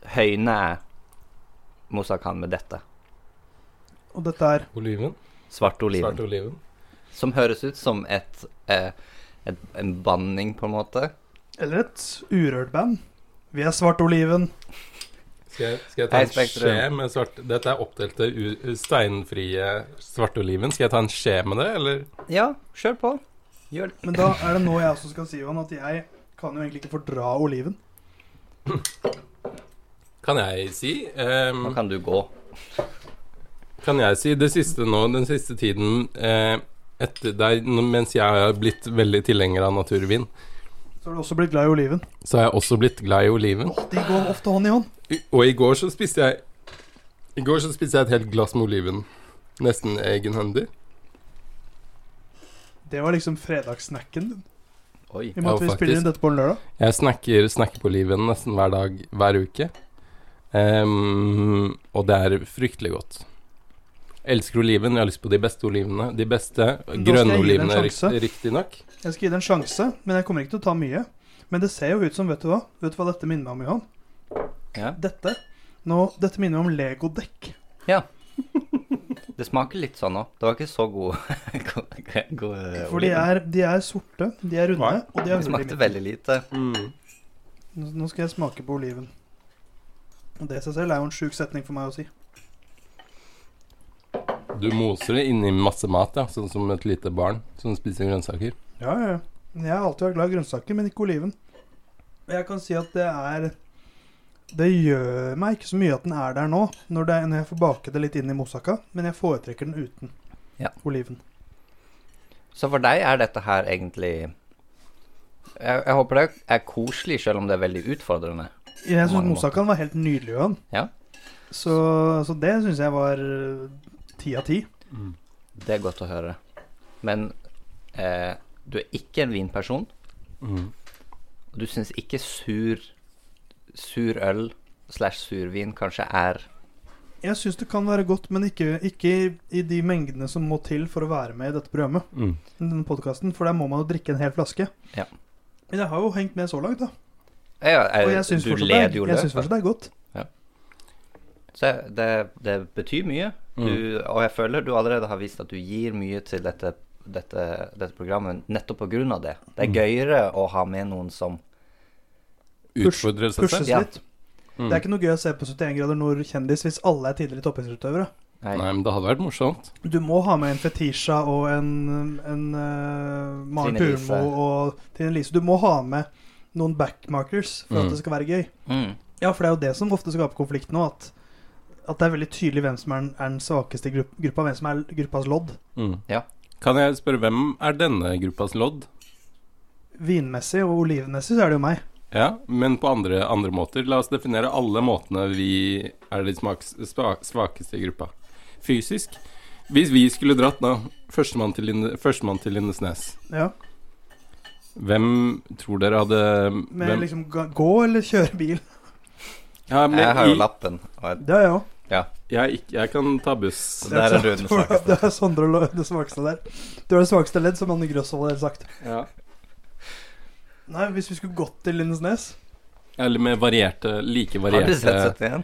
Speaker 2: høyner jeg moussakaen med dette.
Speaker 3: Og dette er
Speaker 1: Oliven?
Speaker 2: Svart oliven.
Speaker 1: Svart oliven.
Speaker 2: Som høres ut som et, eh, et en banning, på en måte.
Speaker 3: Eller et urørt band. Vi er Svart Oliven.
Speaker 1: Skal jeg, skal jeg ta
Speaker 2: Hei,
Speaker 1: en
Speaker 2: Spektrum.
Speaker 1: skje med svart Dette er oppdelte u- steinfrie svarte oliven. Skal jeg ta en skje med det, eller?
Speaker 2: Ja, kjør på. Gjør det.
Speaker 3: Men da er det nå jeg også skal si, Johan, at jeg kan jo egentlig ikke fordra oliven.
Speaker 1: Kan jeg si ehm,
Speaker 2: Nå kan du gå.
Speaker 1: Kan jeg si det siste nå, den siste tiden eh, etter der, n- mens jeg har blitt veldig tilhenger av naturvin,
Speaker 3: Så har du også blitt glad i oliven.
Speaker 1: så har jeg også blitt glad i oliven.
Speaker 3: Åh, de går ofte hånd i hånd.
Speaker 1: I- Og i går så spiste jeg I går så spiste jeg et helt glass med oliven. Nesten egenhendig.
Speaker 3: Det var liksom fredagssnacken din.
Speaker 2: Oi.
Speaker 3: I og med
Speaker 1: Ja,
Speaker 3: at vi
Speaker 1: faktisk.
Speaker 3: spiller inn dette på en lørdag.
Speaker 1: Jeg snakker, snakker på oliven nesten hver dag hver uke. Ehm, og det er fryktelig godt. Elsker oliven. Jeg har lyst på de beste olivenene. De beste
Speaker 3: jeg gi det en
Speaker 1: grønne olivene,
Speaker 3: sjanse.
Speaker 1: riktignok.
Speaker 3: Jeg skal gi det en sjanse, men jeg kommer ikke til å ta mye. Men det ser jo ut som, vet du hva? Vet du hva dette minner meg om, Johan?
Speaker 2: Ja.
Speaker 3: Dette. Nå, dette minner meg om legodekk.
Speaker 2: Det smaker litt sånn òg. Det var ikke så god, god, god eh,
Speaker 3: For de
Speaker 2: oliven.
Speaker 3: er, de er sorte, de er runde,
Speaker 1: Hva?
Speaker 3: og de har
Speaker 2: Det
Speaker 3: hull i
Speaker 2: smakte
Speaker 3: midten.
Speaker 2: veldig lite.
Speaker 1: Mm.
Speaker 3: Nå nå skal jeg smake på oliven. Og det i seg selv er jo en sjuk setning for meg å si.
Speaker 1: Du moser det inni masse mat, ja. Sånn som et lite barn som spiser grønnsaker.
Speaker 3: Ja, ja, ja. Jeg har alltid vært glad i grønnsaker, men ikke oliven. Og Jeg kan si at det er Det gjør meg ikke så mye at den er der nå, når, det, når jeg får bake det litt inn i moussaka, men jeg foretrekker den uten
Speaker 2: Ja.
Speaker 3: oliven.
Speaker 2: Så for deg er dette her egentlig jeg, jeg håper det er koselig, selv om det er veldig utfordrende.
Speaker 3: Jeg
Speaker 2: På
Speaker 3: syns
Speaker 2: mange
Speaker 3: moussakaen var helt nydelig, Johan.
Speaker 2: Ja.
Speaker 3: Så, så det syns jeg var øh, ti av ti. Mm.
Speaker 2: Det er godt å høre. Men eh, du er ikke en vinperson.
Speaker 1: Mm.
Speaker 2: Og du syns ikke sur sur øl slash survin kanskje er
Speaker 3: Jeg syns det kan være godt, men ikke, ikke i- i de mengdene som må til for å være med i dette programmet.
Speaker 1: Mm.
Speaker 3: Denne podcasten, for der må man jo drikke en hel flaske.
Speaker 2: Ja.
Speaker 3: Men jeg har jo hengt med så langt, da.
Speaker 2: ja,
Speaker 3: Og jeg syns
Speaker 2: Du
Speaker 3: fortsatt, det
Speaker 2: leder
Speaker 3: er-
Speaker 2: jo
Speaker 3: jeg
Speaker 2: løpet.
Speaker 3: syns fortsatt det er godt.
Speaker 2: Så det, det betyr mye.
Speaker 1: Mm.
Speaker 3: Eh,
Speaker 2: Du, og jeg føler du allerede har vist at du gir mye til dette, dette, dette programmet nettopp på grunn av det. Det er
Speaker 1: Mm.
Speaker 2: gøyere å ha med noen som
Speaker 3: Push-
Speaker 1: Utfordrer seg selv.
Speaker 3: Pushes
Speaker 2: Ja.
Speaker 3: litt.
Speaker 1: Mm.
Speaker 3: Det er ikke noe gøy å se på 71 grader nord-kjendis hvis alle er tidligere toppidrettsutøvere.
Speaker 2: Nei,
Speaker 1: Mm. Nei, men det hadde vært morsomt.
Speaker 3: Du må ha med en Fetisha og en, en eh, Maren
Speaker 2: Trine Lise.
Speaker 3: Purmo og Trine Lise. Du må ha med noen backmarkers for
Speaker 1: Mm.
Speaker 3: at det skal være gøy.
Speaker 2: mm,
Speaker 3: Ja, for det er jo det som ofte skaper konflikt nå, at, at det er veldig tydelig hvem som er, den- er den svakeste i grupp, gruppa, hvem som er gruppas lodd.
Speaker 1: Mm.
Speaker 2: Ja.
Speaker 1: Kan jeg spørre hvem er denne gruppas lodd?
Speaker 3: Vinmessig og olivenmessig så er det jo meg.
Speaker 1: Ja, men på andre, andre måter. La oss definere alle måtene vi er de smaks, spa- svakeste i gruppa. Fysisk. Hvis vi skulle dratt nå, førstemann til, Linde, førstemann til Lindesnes,
Speaker 3: Ja,
Speaker 1: hvem tror dere hadde
Speaker 3: Med
Speaker 1: hvem,
Speaker 3: liksom ga- gå eller kjøre bil.
Speaker 1: ja, men
Speaker 2: jeg har jo
Speaker 1: i-
Speaker 2: lappen. Og
Speaker 3: Det har jeg òg.
Speaker 1: Jeg, ikke- jeg kan ta buss.
Speaker 2: Så der er du den svakeste.
Speaker 3: Det er Sondre Lo- det svakeste der. Du er det svakeste ledd, som Anne Grøsvold har sagt.
Speaker 1: Ja.
Speaker 3: Nei, hvis vi skulle gått til Lindesnes
Speaker 1: Eller med varierte Like
Speaker 2: har du sett
Speaker 1: varierte
Speaker 2: 71?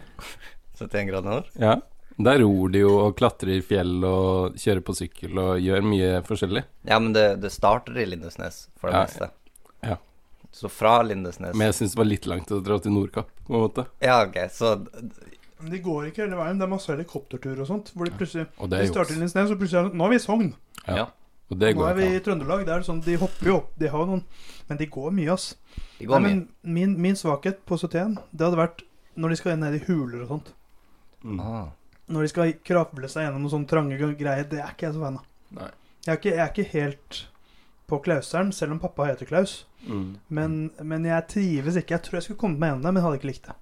Speaker 2: 71 grader nord?
Speaker 1: Ja. Der ror de jo og klatrer i fjell og kjører på sykkel og gjør mye forskjellig.
Speaker 2: Ja, men det, det starter i Lindesnes, for det
Speaker 1: Ja,
Speaker 2: meste.
Speaker 1: ja.
Speaker 2: Så fra Lindesnes
Speaker 1: Men jeg syns det var litt langt å dra til Nordkapp, på en måte.
Speaker 2: Ja, OK, så
Speaker 3: Men De går ikke hele veien. Det er masse helikopterturer og sånt. Hvor de plutselig
Speaker 1: Og
Speaker 3: De
Speaker 1: det er
Speaker 3: starter i
Speaker 1: juks.
Speaker 3: Lindesnes, og plutselig er det sånn, Nå er vi i Sogn.
Speaker 1: Ja. Og det
Speaker 3: Nå
Speaker 1: går
Speaker 3: er vi
Speaker 1: ikke an.
Speaker 3: i Trøndelag. Det er sånn, De hopper jo opp. De har jo noen Men de går mye, ass.
Speaker 2: det går
Speaker 3: Nei,
Speaker 2: mye.
Speaker 3: men min, min svakhet på 71, det hadde vært når de skal ned i huler og sånt.
Speaker 1: Mm.
Speaker 2: Ah.
Speaker 3: Når de skal krable seg gjennom noen sånne trange greier. Det er ikke jeg så fan av.
Speaker 1: Nei.
Speaker 3: Jeg er ikke, jeg er ikke helt på Klauseren, selv om pappa heter Klaus.
Speaker 1: Mm.
Speaker 3: Men, men jeg trives ikke. Jeg tror jeg skulle kommet meg gjennom det, men jeg hadde ikke likt det.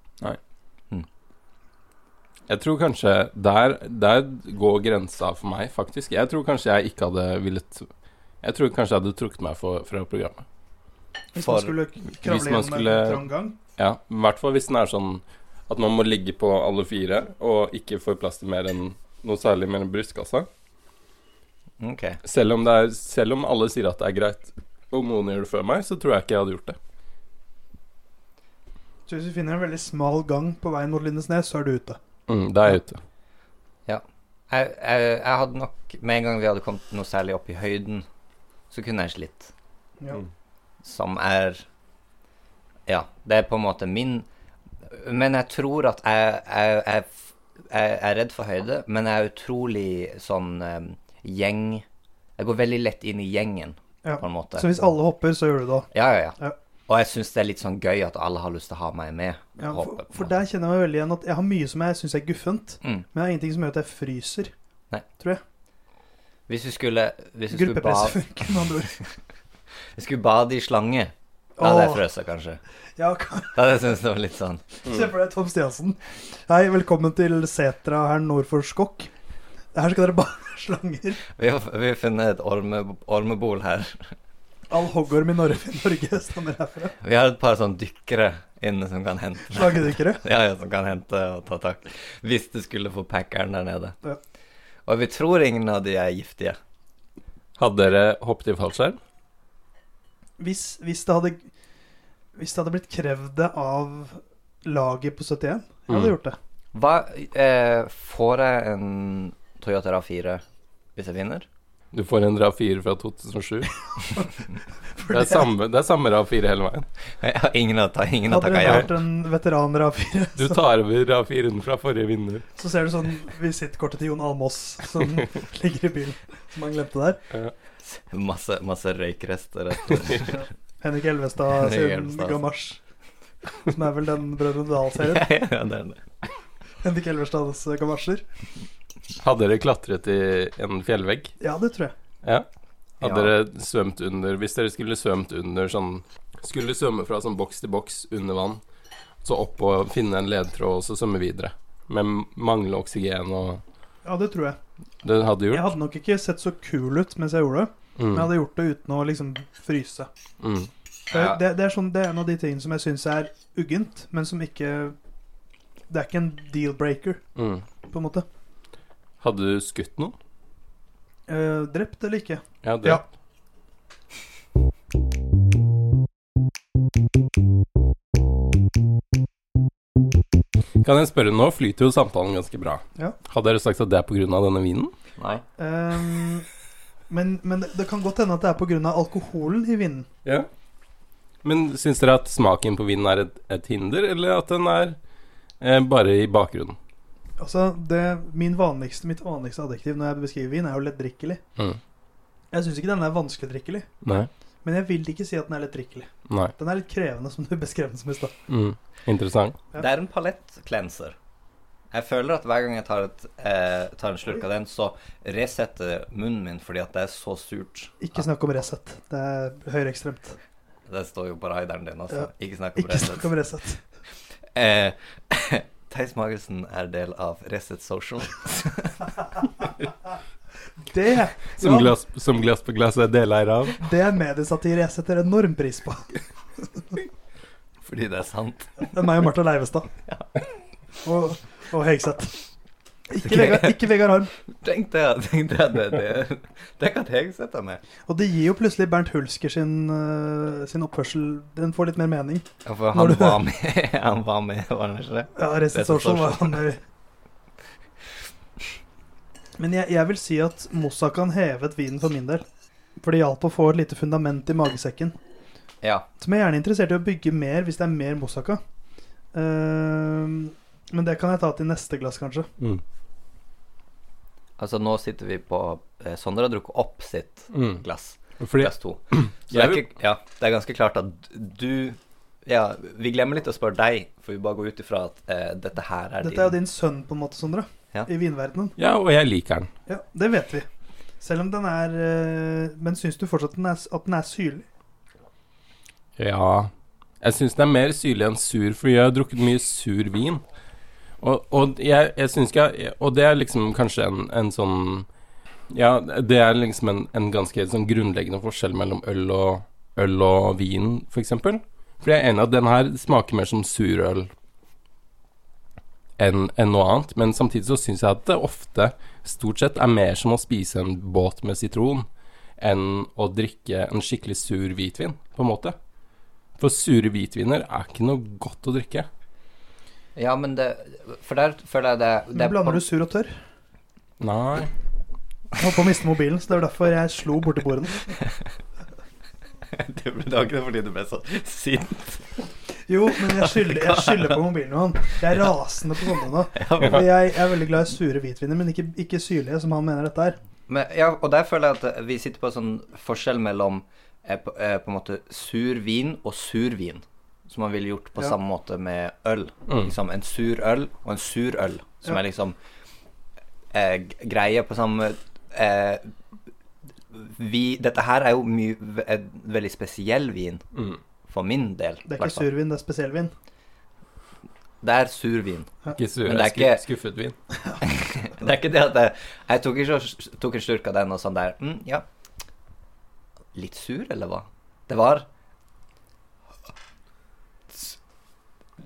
Speaker 1: Jeg tror kanskje der, der går grensa for meg, faktisk. Jeg tror kanskje jeg ikke hadde villet Jeg tror kanskje jeg hadde trukket meg for, fra programmet.
Speaker 3: Hvis
Speaker 2: For-
Speaker 3: man skulle k- kravle
Speaker 1: hvis man
Speaker 3: gjennom
Speaker 1: skulle-
Speaker 3: en trang gang.
Speaker 1: Ja, I hvert fall hvis den er sånn at man må ligge på alle fire og ikke får plass til mer enn noe særlig mellom brystkassa.
Speaker 2: OK.
Speaker 1: Selv om, det er, selv om alle sier at det er greit, og noen gjør det før meg, så tror jeg ikke jeg hadde gjort det.
Speaker 3: Så hvis vi finner en veldig smal gang på veien mot Lindesnes, så er du ute.
Speaker 1: Mm, da er jeg ute.
Speaker 2: Jeg, jeg, jeg hadde nok Med en gang vi hadde kommet noe særlig opp i høyden, så kunne jeg slitt.
Speaker 3: Ja.
Speaker 1: Mm.
Speaker 2: som er Ja, det er på en måte min Men jeg tror at jeg, jeg, jeg, f- jeg er redd for høyde, men jeg er utrolig sånn eh, gjeng Jeg går veldig lett inn i gjengen,
Speaker 3: Ja.
Speaker 2: på en måte.
Speaker 3: Så hvis alle hopper, så gjør du det.
Speaker 2: Ja, ja,
Speaker 3: Ja.
Speaker 2: ja. Og jeg syns det er litt sånn gøy at alle har lyst til å ha meg med.
Speaker 3: Ja,
Speaker 2: Hoppe, på
Speaker 3: for,
Speaker 2: en
Speaker 3: for
Speaker 2: måte.
Speaker 3: der kjenner jeg meg veldig igjen at jeg har mye som jeg syns er guffent,
Speaker 2: Mm.
Speaker 3: men jeg har ingenting som gjør at jeg fryser.
Speaker 2: Nei.
Speaker 3: Tror jeg.
Speaker 2: Hvis vi skulle Hvis vi skulle
Speaker 3: Gruppepress
Speaker 2: bade
Speaker 3: funker, med andre ord.
Speaker 2: vi skulle bade i slange, da hadde jeg
Speaker 3: Åh,
Speaker 2: frøsa kanskje.
Speaker 3: ja, kan-
Speaker 2: Da hadde jeg syntes det var litt sånn
Speaker 3: Se for deg Tom Stiansen. Hei, velkommen til setra her nord for Skokk. Her skal dere bare slanger.
Speaker 2: Vi har, vi har funnet et orme, ormebol her.
Speaker 3: All hoggorm i Norge, Norge stammer herfra.
Speaker 2: Vi har et par sånn dykkere inne som kan hente
Speaker 3: Slagedykkere.
Speaker 2: Ja, ja, som kan hente og ta tak. Hvis du skulle få packeren der nede.
Speaker 3: Ja.
Speaker 2: Og vi tror ingen av de er giftige.
Speaker 1: Hadde dere hoppet i fallskjerm?
Speaker 3: Hvis, hvis, det hadde, hvis det hadde blitt krevd det av laget på 71, jeg hadde
Speaker 1: Mm.
Speaker 3: gjort det.
Speaker 2: Hva eh, Får jeg en Toyota RAV4 hvis jeg vinner?
Speaker 1: Du får en RAV4 fra 2007. Det er samme, det er samme RAV4 hele veien.
Speaker 2: Jeg har ingen har ta- ingen har
Speaker 3: Hadde
Speaker 2: takka
Speaker 3: det
Speaker 2: ja.
Speaker 3: vært en veteraner av fire,
Speaker 1: Du tar over RAV4-en fra forrige vinner.
Speaker 3: så ser du sånn visittkortet til Jon Almås som ligger i bilen, som han glemte der.
Speaker 2: Masse, masse røykrester. etter.
Speaker 3: Henrik Elvestad
Speaker 2: Henrik
Speaker 3: sin
Speaker 2: Elvestad.
Speaker 3: gamasj, som er vel den Brødrene Dal-serien.
Speaker 2: ja, ja, det er det.
Speaker 3: Henrik eh, Elvestads gamasjer.
Speaker 1: Hadde dere klatret i en fjellvegg?
Speaker 3: Ja, det tror jeg.
Speaker 1: Ja. Hadde
Speaker 2: Ja.
Speaker 1: dere svømt under Hvis dere skulle svømt under sånn Skulle svømme fra sånn boks til boks under vann, så opp og finne en ledtråd og så svømme videre. Men mangle oksygen og
Speaker 3: Ja, det tror jeg.
Speaker 1: Det hadde du
Speaker 3: Jeg
Speaker 1: gjort?
Speaker 3: hadde nok ikke sett så kul ut mens jeg gjorde det, men jeg
Speaker 1: Mm.
Speaker 3: hadde gjort det uten å liksom fryse.
Speaker 1: Mm.
Speaker 3: Det,
Speaker 2: Ja.
Speaker 3: det, det, er, sånn, det er en av de tingene som jeg syns er uggent, men som ikke Det er ikke en deal-breaker,
Speaker 1: Mm.
Speaker 3: på en måte.
Speaker 1: Hadde du skutt noen?
Speaker 3: Eh, drept eller ikke?
Speaker 1: Ja, det.
Speaker 3: Ja.
Speaker 1: Kan jeg spørre, nå flyter jo samtalen ganske bra.
Speaker 3: Ja.
Speaker 1: Hadde dere sagt at det er pga. denne vinen?
Speaker 2: Nei.
Speaker 3: Ehm, men men det, det kan godt hende at det er pga. alkoholen i vinen.
Speaker 1: Ja. Men syns dere at smaken på vinen er et, et hinder, eller at den er eh, bare i bakgrunnen?
Speaker 3: Altså, det, min vanligste, mitt vanligste adjektiv når jeg beskriver vin, er jo lettdrikkelig.
Speaker 1: Mm.
Speaker 3: Jeg syns ikke den er vanskelig drikkelig,
Speaker 1: Nei.
Speaker 3: men jeg vil ikke si at den er lettdrikkelig.
Speaker 1: Nei.
Speaker 3: Den er litt krevende, som du beskrev den som i stad.
Speaker 1: Mm. Interessant.
Speaker 3: Ja.
Speaker 2: Det er en palett-cleanser. Jeg føler at hver gang jeg tar, et, eh, tar en slurk av den, så resetter munnen min fordi at det er så surt.
Speaker 3: Ikke snakk om Resett. Det er høyreekstremt.
Speaker 2: Det står jo på raideren din, altså. Ikke snakk om
Speaker 3: Ikke
Speaker 2: Resett.
Speaker 3: snakk om Resett.
Speaker 2: Eh, Theis Magelsen er del av Resett Social.
Speaker 3: Det,
Speaker 1: Som,
Speaker 3: Ja.
Speaker 1: glass, som glass på glass er deleier av.
Speaker 3: det er mediesatire jeg setter enorm pris på.
Speaker 2: Fordi det er sant.
Speaker 3: Det er meg og Martha Leivestad. Og, og Hegseth. Ikke, Vegard, ikke Vegard Harm.
Speaker 2: Tenk det, tenk det, det, det. det kan jeg sette meg.
Speaker 3: Og det gir jo plutselig Bernt Hulsker sin, eh, sin oppførsel Den får litt mer mening.
Speaker 2: Ja, For han
Speaker 3: Når du-
Speaker 2: var med, han var med, var han ikke det?
Speaker 3: Ja,
Speaker 2: Det er
Speaker 3: Resett
Speaker 2: så
Speaker 3: Social var
Speaker 2: forskjell.
Speaker 3: han der. Men jeg, jeg vil si at Moussaka hevet vinen for min del. For det hjalp å få et lite fundament i magesekken.
Speaker 2: Ja.
Speaker 3: Som jeg er gjerne interessert i å bygge mer hvis det er mer moussaka. Ehm, men det kan jeg ta til neste glass, kanskje.
Speaker 1: Mm.
Speaker 2: Altså, nå sitter vi på eh, Sondre har drukket opp sitt
Speaker 1: Mm.
Speaker 2: glass.
Speaker 1: Fordi
Speaker 2: Glass to. Så det
Speaker 1: Jeg
Speaker 2: er,
Speaker 1: vil-
Speaker 2: ikke, ja, det er ganske klart at du Ja, vi glemmer litt å spørre deg, for vi bare går ut ifra at eh, dette her er
Speaker 3: Dette er jo din sønn, på en måte, Sondre.
Speaker 2: Ja.
Speaker 3: I vinverdenen.
Speaker 1: Ja, og jeg liker den.
Speaker 3: Ja, det vet vi. Selv om den er eh, Men syns du fortsatt den er, at den er syrlig?
Speaker 1: Ja. Jeg syns den er mer syrlig enn sur, fordi jeg har drukket mye sur vin. Og, og jeg, jeg syns ikke jeg- Og det er liksom kanskje en, en sånn Ja, det er liksom en, en ganske sånn grunnleggende forskjell mellom øl og, øl og vin, f.eks. For eksempel. For jeg er enig i at den her smaker mer som surøl enn enn noe annet. Men samtidig så syns jeg at det ofte, stort sett, er mer som å spise en båt med sitron enn å drikke en skikkelig sur hvitvin, på en måte. For sure hvitviner er ikke noe godt å drikke.
Speaker 2: Ja, men det For der føler jeg det, det
Speaker 3: Men blander du sur og tørr?
Speaker 1: Nei.
Speaker 3: Jeg holdt på å miste mobilen, så det var derfor jeg slo borti bordene.
Speaker 2: Det ble- det var ikke det fordi du ble så sint.
Speaker 3: Jo, men jeg skylder, jeg skylder på mobilen, Johan. Jeg er rasende på Sondre nå.
Speaker 2: Ja,
Speaker 3: For jeg er veldig glad i sure hvitviner, men ikke, ikke syrlige, som han mener dette er.
Speaker 2: men, ja, og der føler jeg at vi sitter på en sånn forskjell mellom eh, på, eh, på en måte sur vin og survin. Som man ville gjort på
Speaker 3: Ja.
Speaker 2: samme måte med øl.
Speaker 1: Mm.
Speaker 2: Liksom en sur øl og en sur øl, som
Speaker 3: Ja.
Speaker 2: er liksom eh, g- greie på samme eh, vi, dette her er jo mye, ve- en veldig spesiell vin
Speaker 1: Mm.
Speaker 2: for min del.
Speaker 3: Det er
Speaker 2: hvertfall.
Speaker 3: ikke survin, det er spesiellvin.
Speaker 2: Det er sur vin.
Speaker 1: Ikke sur,
Speaker 2: Men det er
Speaker 1: sku-
Speaker 2: ikke-
Speaker 1: skuffet vin.
Speaker 2: Det er ikke det at jeg, jeg tok, ikke, så- tok en slurk av den og sånn der mm, Ja. Litt sur, eller hva? Det var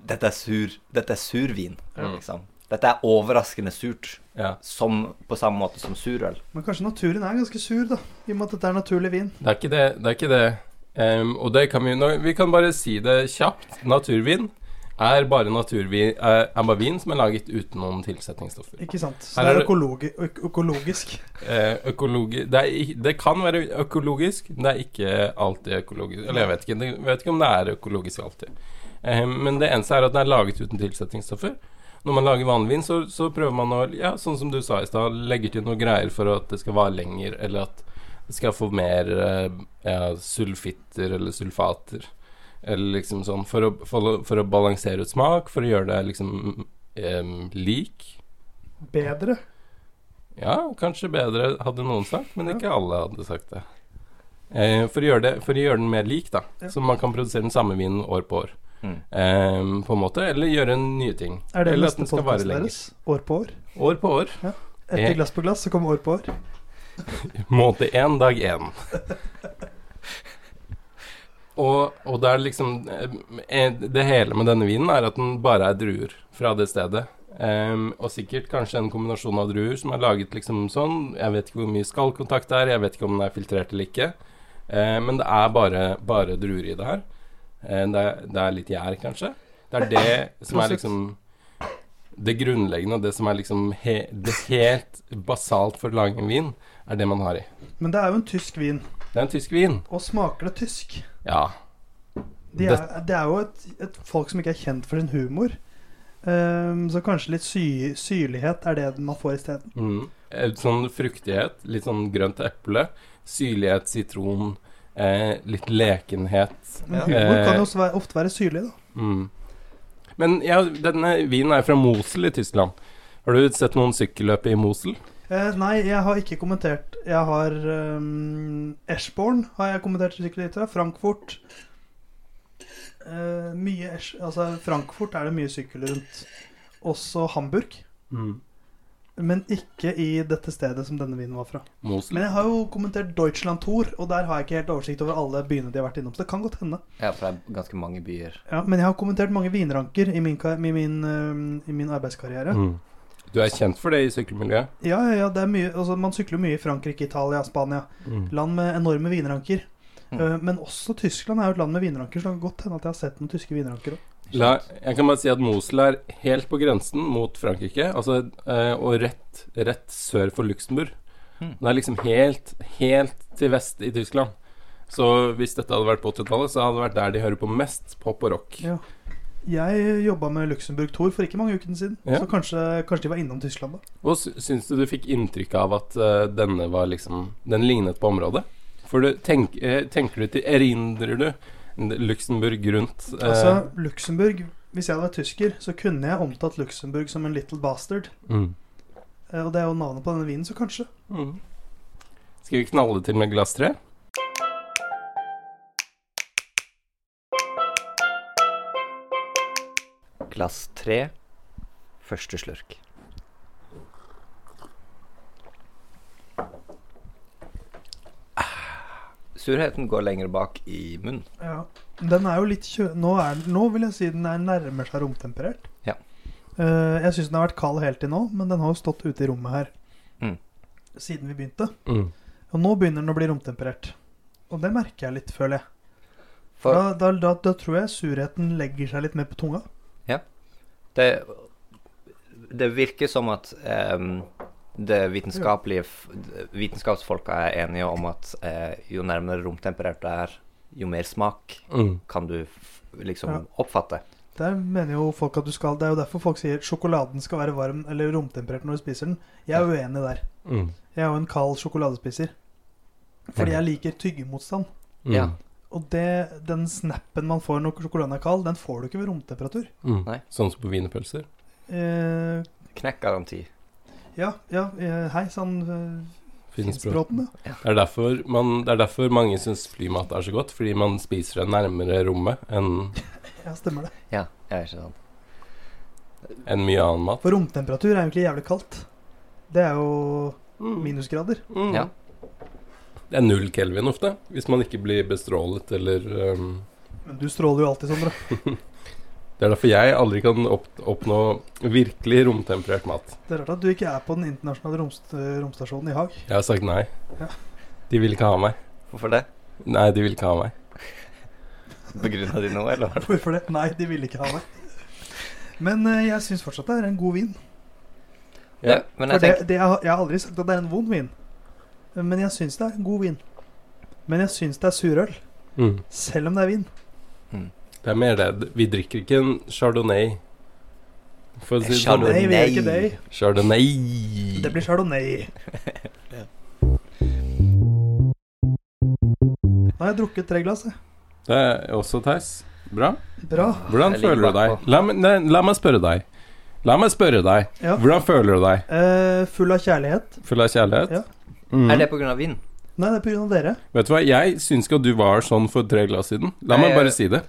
Speaker 2: Dette er sur. Dette er survin,
Speaker 1: Mm.
Speaker 2: liksom. Dette er overraskende surt.
Speaker 1: Ja.
Speaker 2: Som, på samme måte som surøl.
Speaker 3: Men kanskje naturen er ganske sur, da. I og med at dette er naturlig vin.
Speaker 1: Det er ikke det. det, er ikke det. Em, og det kan vi, nå, vi kan bare si det kjapt. Naturvin er bare, naturvin, eh, er, er bare vin som er laget uten noen tilsetningsstoffer.
Speaker 3: Ikke sant? Så
Speaker 1: Her
Speaker 3: det
Speaker 1: er
Speaker 3: er
Speaker 1: det-
Speaker 3: økologi øk økologisk.
Speaker 1: Eh, økologi, det, er, ik- det kan være økologisk, men det er ikke alltid økologisk. Eller jeg vet ikke, jeg vet ikke om det er økologisk alltid. Eh, men det eneste er at den er laget uten tilsetningsstoffer. Når man lager vannvin, så, så prøver man å ja, sånn som du sa i stad, legger til noe greier for at det skal vare lenger, eller at det skal få mer eh, ja, sulfitter eller sulfater. Eller liksom sånn for å, for, å- for å balansere ut smak, for å gjøre det liksom eh, lik.
Speaker 3: Bedre.
Speaker 1: Ja, kanskje bedre hadde noen sagt, men ikke alle hadde sagt det. Eh, for, å gjøre det for å gjøre den mer lik, da.
Speaker 3: Ja.
Speaker 1: Så man kan produsere den samme vinen år på år.
Speaker 2: Mm.
Speaker 1: Eh, på en måte, eller gjøre nye ting.
Speaker 3: Er det
Speaker 1: eller
Speaker 3: neste podkast deres? År på år?
Speaker 1: År på år.
Speaker 3: Etter
Speaker 1: Eh.
Speaker 3: glass på glass, så kommer år på år.
Speaker 1: Måned én, dag én. Og, og det er liksom eh, Det hele med denne vinen er at den bare er druer fra det stedet. Ehm, og sikkert kanskje en kombinasjon av druer som er laget liksom sånn. Jeg vet ikke hvor mye skallkontakt det er, jeg vet ikke om den er filtrert eller ikke. Eh, men det er bare, bare druer i det her. Eh, det, er, det er litt gjær, kanskje. Det er det som er liksom Det grunnleggende, det som er liksom he, det helt basalt for å lage en vin, er det man har i.
Speaker 3: Men det er jo en tysk vin.
Speaker 1: Det er en tysk vin.
Speaker 3: Og smaker det tysk?
Speaker 1: Ja.
Speaker 3: Det er, det er jo et, et folk som ikke er kjent for sin humor. Ehm, så kanskje litt sy syrlighet er det man får isteden.
Speaker 1: Mm. Eh, Sånn fruktighet, litt sånn grønt eple, syrlighet, sitron, eh, litt lekenhet.
Speaker 3: Men
Speaker 2: Ja.
Speaker 3: humor kan
Speaker 1: Eh.
Speaker 3: jo også være, ofte være syrlig, da.
Speaker 1: Mm. Men ja, denne vinen er fra Mosel i Tyskland. Har du sett noen sykkelløp i Mosel?
Speaker 3: Eh, nei, jeg har ikke kommentert. Jeg har ehm, Eschborn har jeg kommentert sikkert litt. ja. Frankfurt. Eh, mye Esch... Altså, Frankfurt er det mye sykkel rundt. Også Hamburg. Men ikke i dette stedet som denne vinen var fra.
Speaker 1: Mosel?
Speaker 3: Men jeg har jo kommentert Deutschland Tour, og der har jeg ikke helt oversikt over alle byene de har vært innom. Så det kan godt hende.
Speaker 2: Ja, for det er ganske mange byer.
Speaker 3: Ja, Men jeg har kommentert mange vinranker i min, ka- i min, eh, i min arbeidskarriere.
Speaker 1: Mm. Du er kjent for det i sykkelmiljøet?
Speaker 3: Ja, ja, ja, det er mye, altså, Man sykler jo mye i Frankrike, Italia, Spania. Land med enorme vinranker.
Speaker 2: Mm.
Speaker 3: Eh, Men også Tyskland er jo et land med vinranker, så det kan godt hende at jeg har sett noen tyske vinranker òg.
Speaker 1: La, jeg kan bare si at Mosel er helt på grensen mot Frankrike, altså, eh, og rett, rett sør for Luxembourg.
Speaker 2: Mm.
Speaker 1: Den er liksom helt, helt til vest i Tyskland. Så hvis dette hadde vært på 80-tallet, så hadde det vært der de hører på mest pop og rock.
Speaker 3: Ja. Jeg jobba med Luxembourg Tour for ikke mange ukene siden,
Speaker 1: Ja.
Speaker 3: så kanskje, kanskje de var innom Tyskland da.
Speaker 1: Og sy- syns du du fikk inntrykk av at eh, denne var liksom Den lignet på området? For du tenk, eh, tenker du til Erindrer du Luxembourg rundt? eh,
Speaker 3: Altså, Luxembourg Hvis jeg hadde vært tysker, så kunne jeg omtalt Luxembourg som en little bastard.
Speaker 1: mm.
Speaker 3: Eh, Og det er jo navnet på denne vinen, så kanskje.
Speaker 1: Mm. Skal vi knalle til med glass tre?
Speaker 2: Glass tre, første slurk. Ah, Surheten går lenger bak i munnen.
Speaker 3: Ja. Den er jo litt kjø... Nå, er, den- nå vil jeg si den er nærmer seg romtemperert.
Speaker 2: Ja.
Speaker 3: Eh, jeg syns den har vært kald helt til nå, men den har jo stått ute i rommet her
Speaker 2: Mm.
Speaker 3: siden vi begynte.
Speaker 1: Mm.
Speaker 3: Og nå begynner den å bli romtemperert. Og det merker jeg litt, føler jeg.
Speaker 2: For
Speaker 3: Da, da, da, da tror jeg surheten legger seg litt mer på tunga.
Speaker 2: det, det virker som at em, det vitenskapelige f- Vitenskapsfolka er enige om at eh, jo nærmere romtemperert det er, jo mer smak
Speaker 1: Mm.
Speaker 2: kan du f liksom
Speaker 3: Ja.
Speaker 2: oppfatte.
Speaker 3: Der mener jo folk at du skal Det er jo derfor folk sier sjokoladen skal være varm eller romtemperert når du spiser den. Jeg er uenig der.
Speaker 1: Mm.
Speaker 3: Jeg er jo en kald sjokoladespiser. Fordi jeg liker tyggemotstand.
Speaker 1: Mm.
Speaker 2: Ja.
Speaker 3: Og det, den snappen man får når sjokoladen er kald, den får du ikke ved romtemperatur.
Speaker 1: Mm.
Speaker 2: Nei.
Speaker 1: Sånn som på wienerpølser?
Speaker 3: Eh,
Speaker 2: Knekkgaranti.
Speaker 3: ja, ja, eh, hei sann, eh,
Speaker 1: Finnspråten.
Speaker 3: Finnspråten, ja.
Speaker 1: Det er derfor, man, det er derfor mange syns flymat er så godt, fordi man spiser det nærmere rommet enn
Speaker 3: ja. Stemmer det.
Speaker 2: Ja, ja, ikke sant.
Speaker 1: enn mye annen mat.
Speaker 3: For romtemperatur er jo egentlig jævlig kaldt. Det er jo
Speaker 1: Mm.
Speaker 3: minusgrader.
Speaker 1: Mm.
Speaker 2: Ja.
Speaker 1: Det er null kelvin ofte, hvis man ikke blir bestrålet eller ehm,
Speaker 3: Men du stråler jo alltid, Sondre.
Speaker 1: Det er derfor jeg aldri kan opp, oppnå virkelig romtemperert mat.
Speaker 3: Det er rart at du ikke er på den internasjonale romst romstasjonen i Haag.
Speaker 1: Jeg har sagt nei.
Speaker 3: Ja.
Speaker 1: De vil ikke ha meg.
Speaker 2: Hvorfor det?
Speaker 1: Nei, de vil ikke ha meg.
Speaker 2: Begrunna de noe, eller?
Speaker 3: Hvorfor det? Nei, de ville ikke ha meg. Men eh, jeg syns fortsatt det er en god vin.
Speaker 1: Ja.
Speaker 2: Det, men
Speaker 3: For
Speaker 2: jeg
Speaker 3: det,
Speaker 2: tenker
Speaker 3: det, jeg, har- jeg har aldri sagt at det er en vond vin. Men jeg syns det er en god vin. Men jeg syns det er surøl,
Speaker 1: Mm.
Speaker 3: selv om det er vin.
Speaker 1: Det er mer det. Vi drikker ikke en chardonnay. For å si det sånn.
Speaker 3: Chardonnay. Nei, vi gjør ikke
Speaker 2: Chardonnay.
Speaker 3: det.
Speaker 1: Chardonnay.
Speaker 3: Det blir chardonnay. Nå har jeg drukket tre glass. jeg.
Speaker 1: Det er også Theis. Bra.
Speaker 3: Bra.
Speaker 1: Hvordan
Speaker 2: Jeg ligger
Speaker 1: føler du deg?
Speaker 2: bakpå.
Speaker 1: La, meg- nei, la meg spørre deg. La meg spørre deg.
Speaker 3: Ja.
Speaker 1: Hvordan føler du deg?
Speaker 3: Eh, full av kjærlighet.
Speaker 1: Full av kjærlighet?
Speaker 3: Ja.
Speaker 1: Mm.
Speaker 2: Er det på grunn av vind?
Speaker 3: Nei, det er pga. dere.
Speaker 1: Vet du hva, jeg syns ikke at du var sånn for tre glass siden. La meg
Speaker 2: Nei,
Speaker 1: bare
Speaker 2: jeg-
Speaker 1: si det.